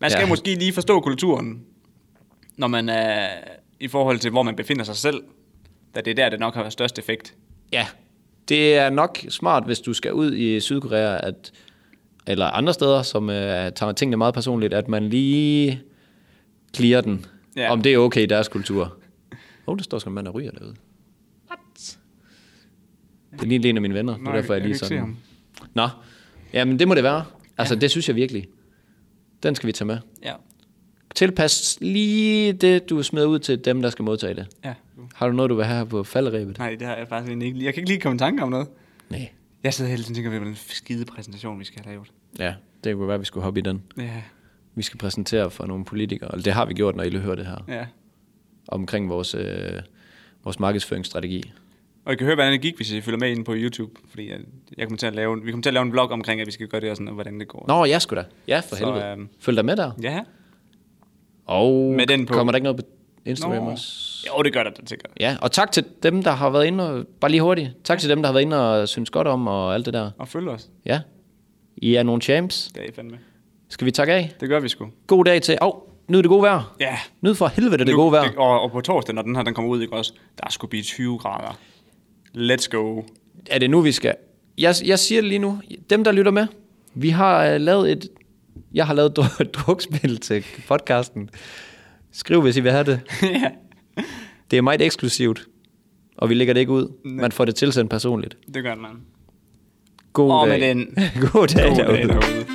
Speaker 1: man skal ja.
Speaker 2: Ja.
Speaker 1: måske lige forstå kulturen, når man er i forhold til, hvor man befinder sig selv, da det er der, det nok har størst effekt.
Speaker 2: Ja, det er nok smart, hvis du skal ud i Sydkorea, at, eller andre steder, som øh, tager tingene meget personligt, at man lige clear den,
Speaker 1: Ja.
Speaker 2: ja. om det er okay i deres kultur. Åh, oh, der står sådan en mand og ryger derude. What? Det er lige en af mine venner, det
Speaker 1: Nå,
Speaker 2: er derfor, jeg,
Speaker 1: jeg
Speaker 2: lige
Speaker 1: kan ikke se
Speaker 2: sådan... Nå, jamen det må det være. Altså, det synes jeg virkelig. Den skal vi tage med.
Speaker 1: Ja.
Speaker 2: Tilpas lige det, du smider ud til dem, der skal modtage det.
Speaker 1: ja.
Speaker 2: Har du noget, du vil have her på falderæbet?
Speaker 1: Nej, det har jeg faktisk egentlig ikke. lige- Jeg kan ikke lige komme i tanke om noget.
Speaker 2: Nej.
Speaker 1: Jeg sidder hele tiden og tænker, hvilken skide præsentation, vi skal have lavet.
Speaker 2: Ja, det kunne være, vi skulle hoppe i den.
Speaker 1: Ja,
Speaker 2: Vi skal præsentere for nogle politikere, og det har vi gjort, når I hører det her,
Speaker 1: ja.
Speaker 2: omkring vores, øh, vores markedsføringsstrategi.
Speaker 1: Og I kan høre, hvordan det gik, hvis I følger med inde på YouTube. Fordi jeg, jeg kommer til at lave, vi kommer til at lave en vlog omkring, at vi skal gøre det og sådan, og hvordan det går.
Speaker 2: Nå, jeg skulle da. Ja, for
Speaker 1: Så,
Speaker 2: helvede.
Speaker 1: øhm,
Speaker 2: Følg dig med der.
Speaker 1: Ja.
Speaker 2: Og
Speaker 1: Med den på.
Speaker 2: kommer der ikke noget på Instagram
Speaker 1: Nå.
Speaker 2: også?
Speaker 1: Jo, det gør der, det sikkert.
Speaker 2: Ja, og tak til dem, der har været inde og... Bare lige hurtigt. Tak til dem, der har været inde og synes godt om og alt det der.
Speaker 1: Og følg os.
Speaker 2: Ja. I er nogle champs.
Speaker 1: Det er I fandme.
Speaker 2: Skal vi takke af?
Speaker 1: Det gør vi sgu.
Speaker 2: God dag til... Åh, oh, nyd det gode vejr.
Speaker 1: Ja.
Speaker 2: Nyd for helvede det gode vejr.
Speaker 1: Det, og, og, på torsdag, når den her den kommer ud, ikke også? Der skulle blive 20 grader. Let's go.
Speaker 2: er det nu, vi skal... Jeg, jeg siger det lige nu. Dem, der lytter med, vi har øh, lavet et... Jeg har lavet et drukspil til podcasten. Skriv, hvis I vil have det.
Speaker 1: ja.
Speaker 2: Det er meget eksklusivt, og vi lægger det ikke ud.
Speaker 1: Nej.
Speaker 2: Man får det tilsendt personligt.
Speaker 1: Det gør man.
Speaker 2: God
Speaker 1: Og
Speaker 2: dag.
Speaker 1: med den.
Speaker 2: God dag,
Speaker 1: God dag
Speaker 2: derude.
Speaker 1: derude.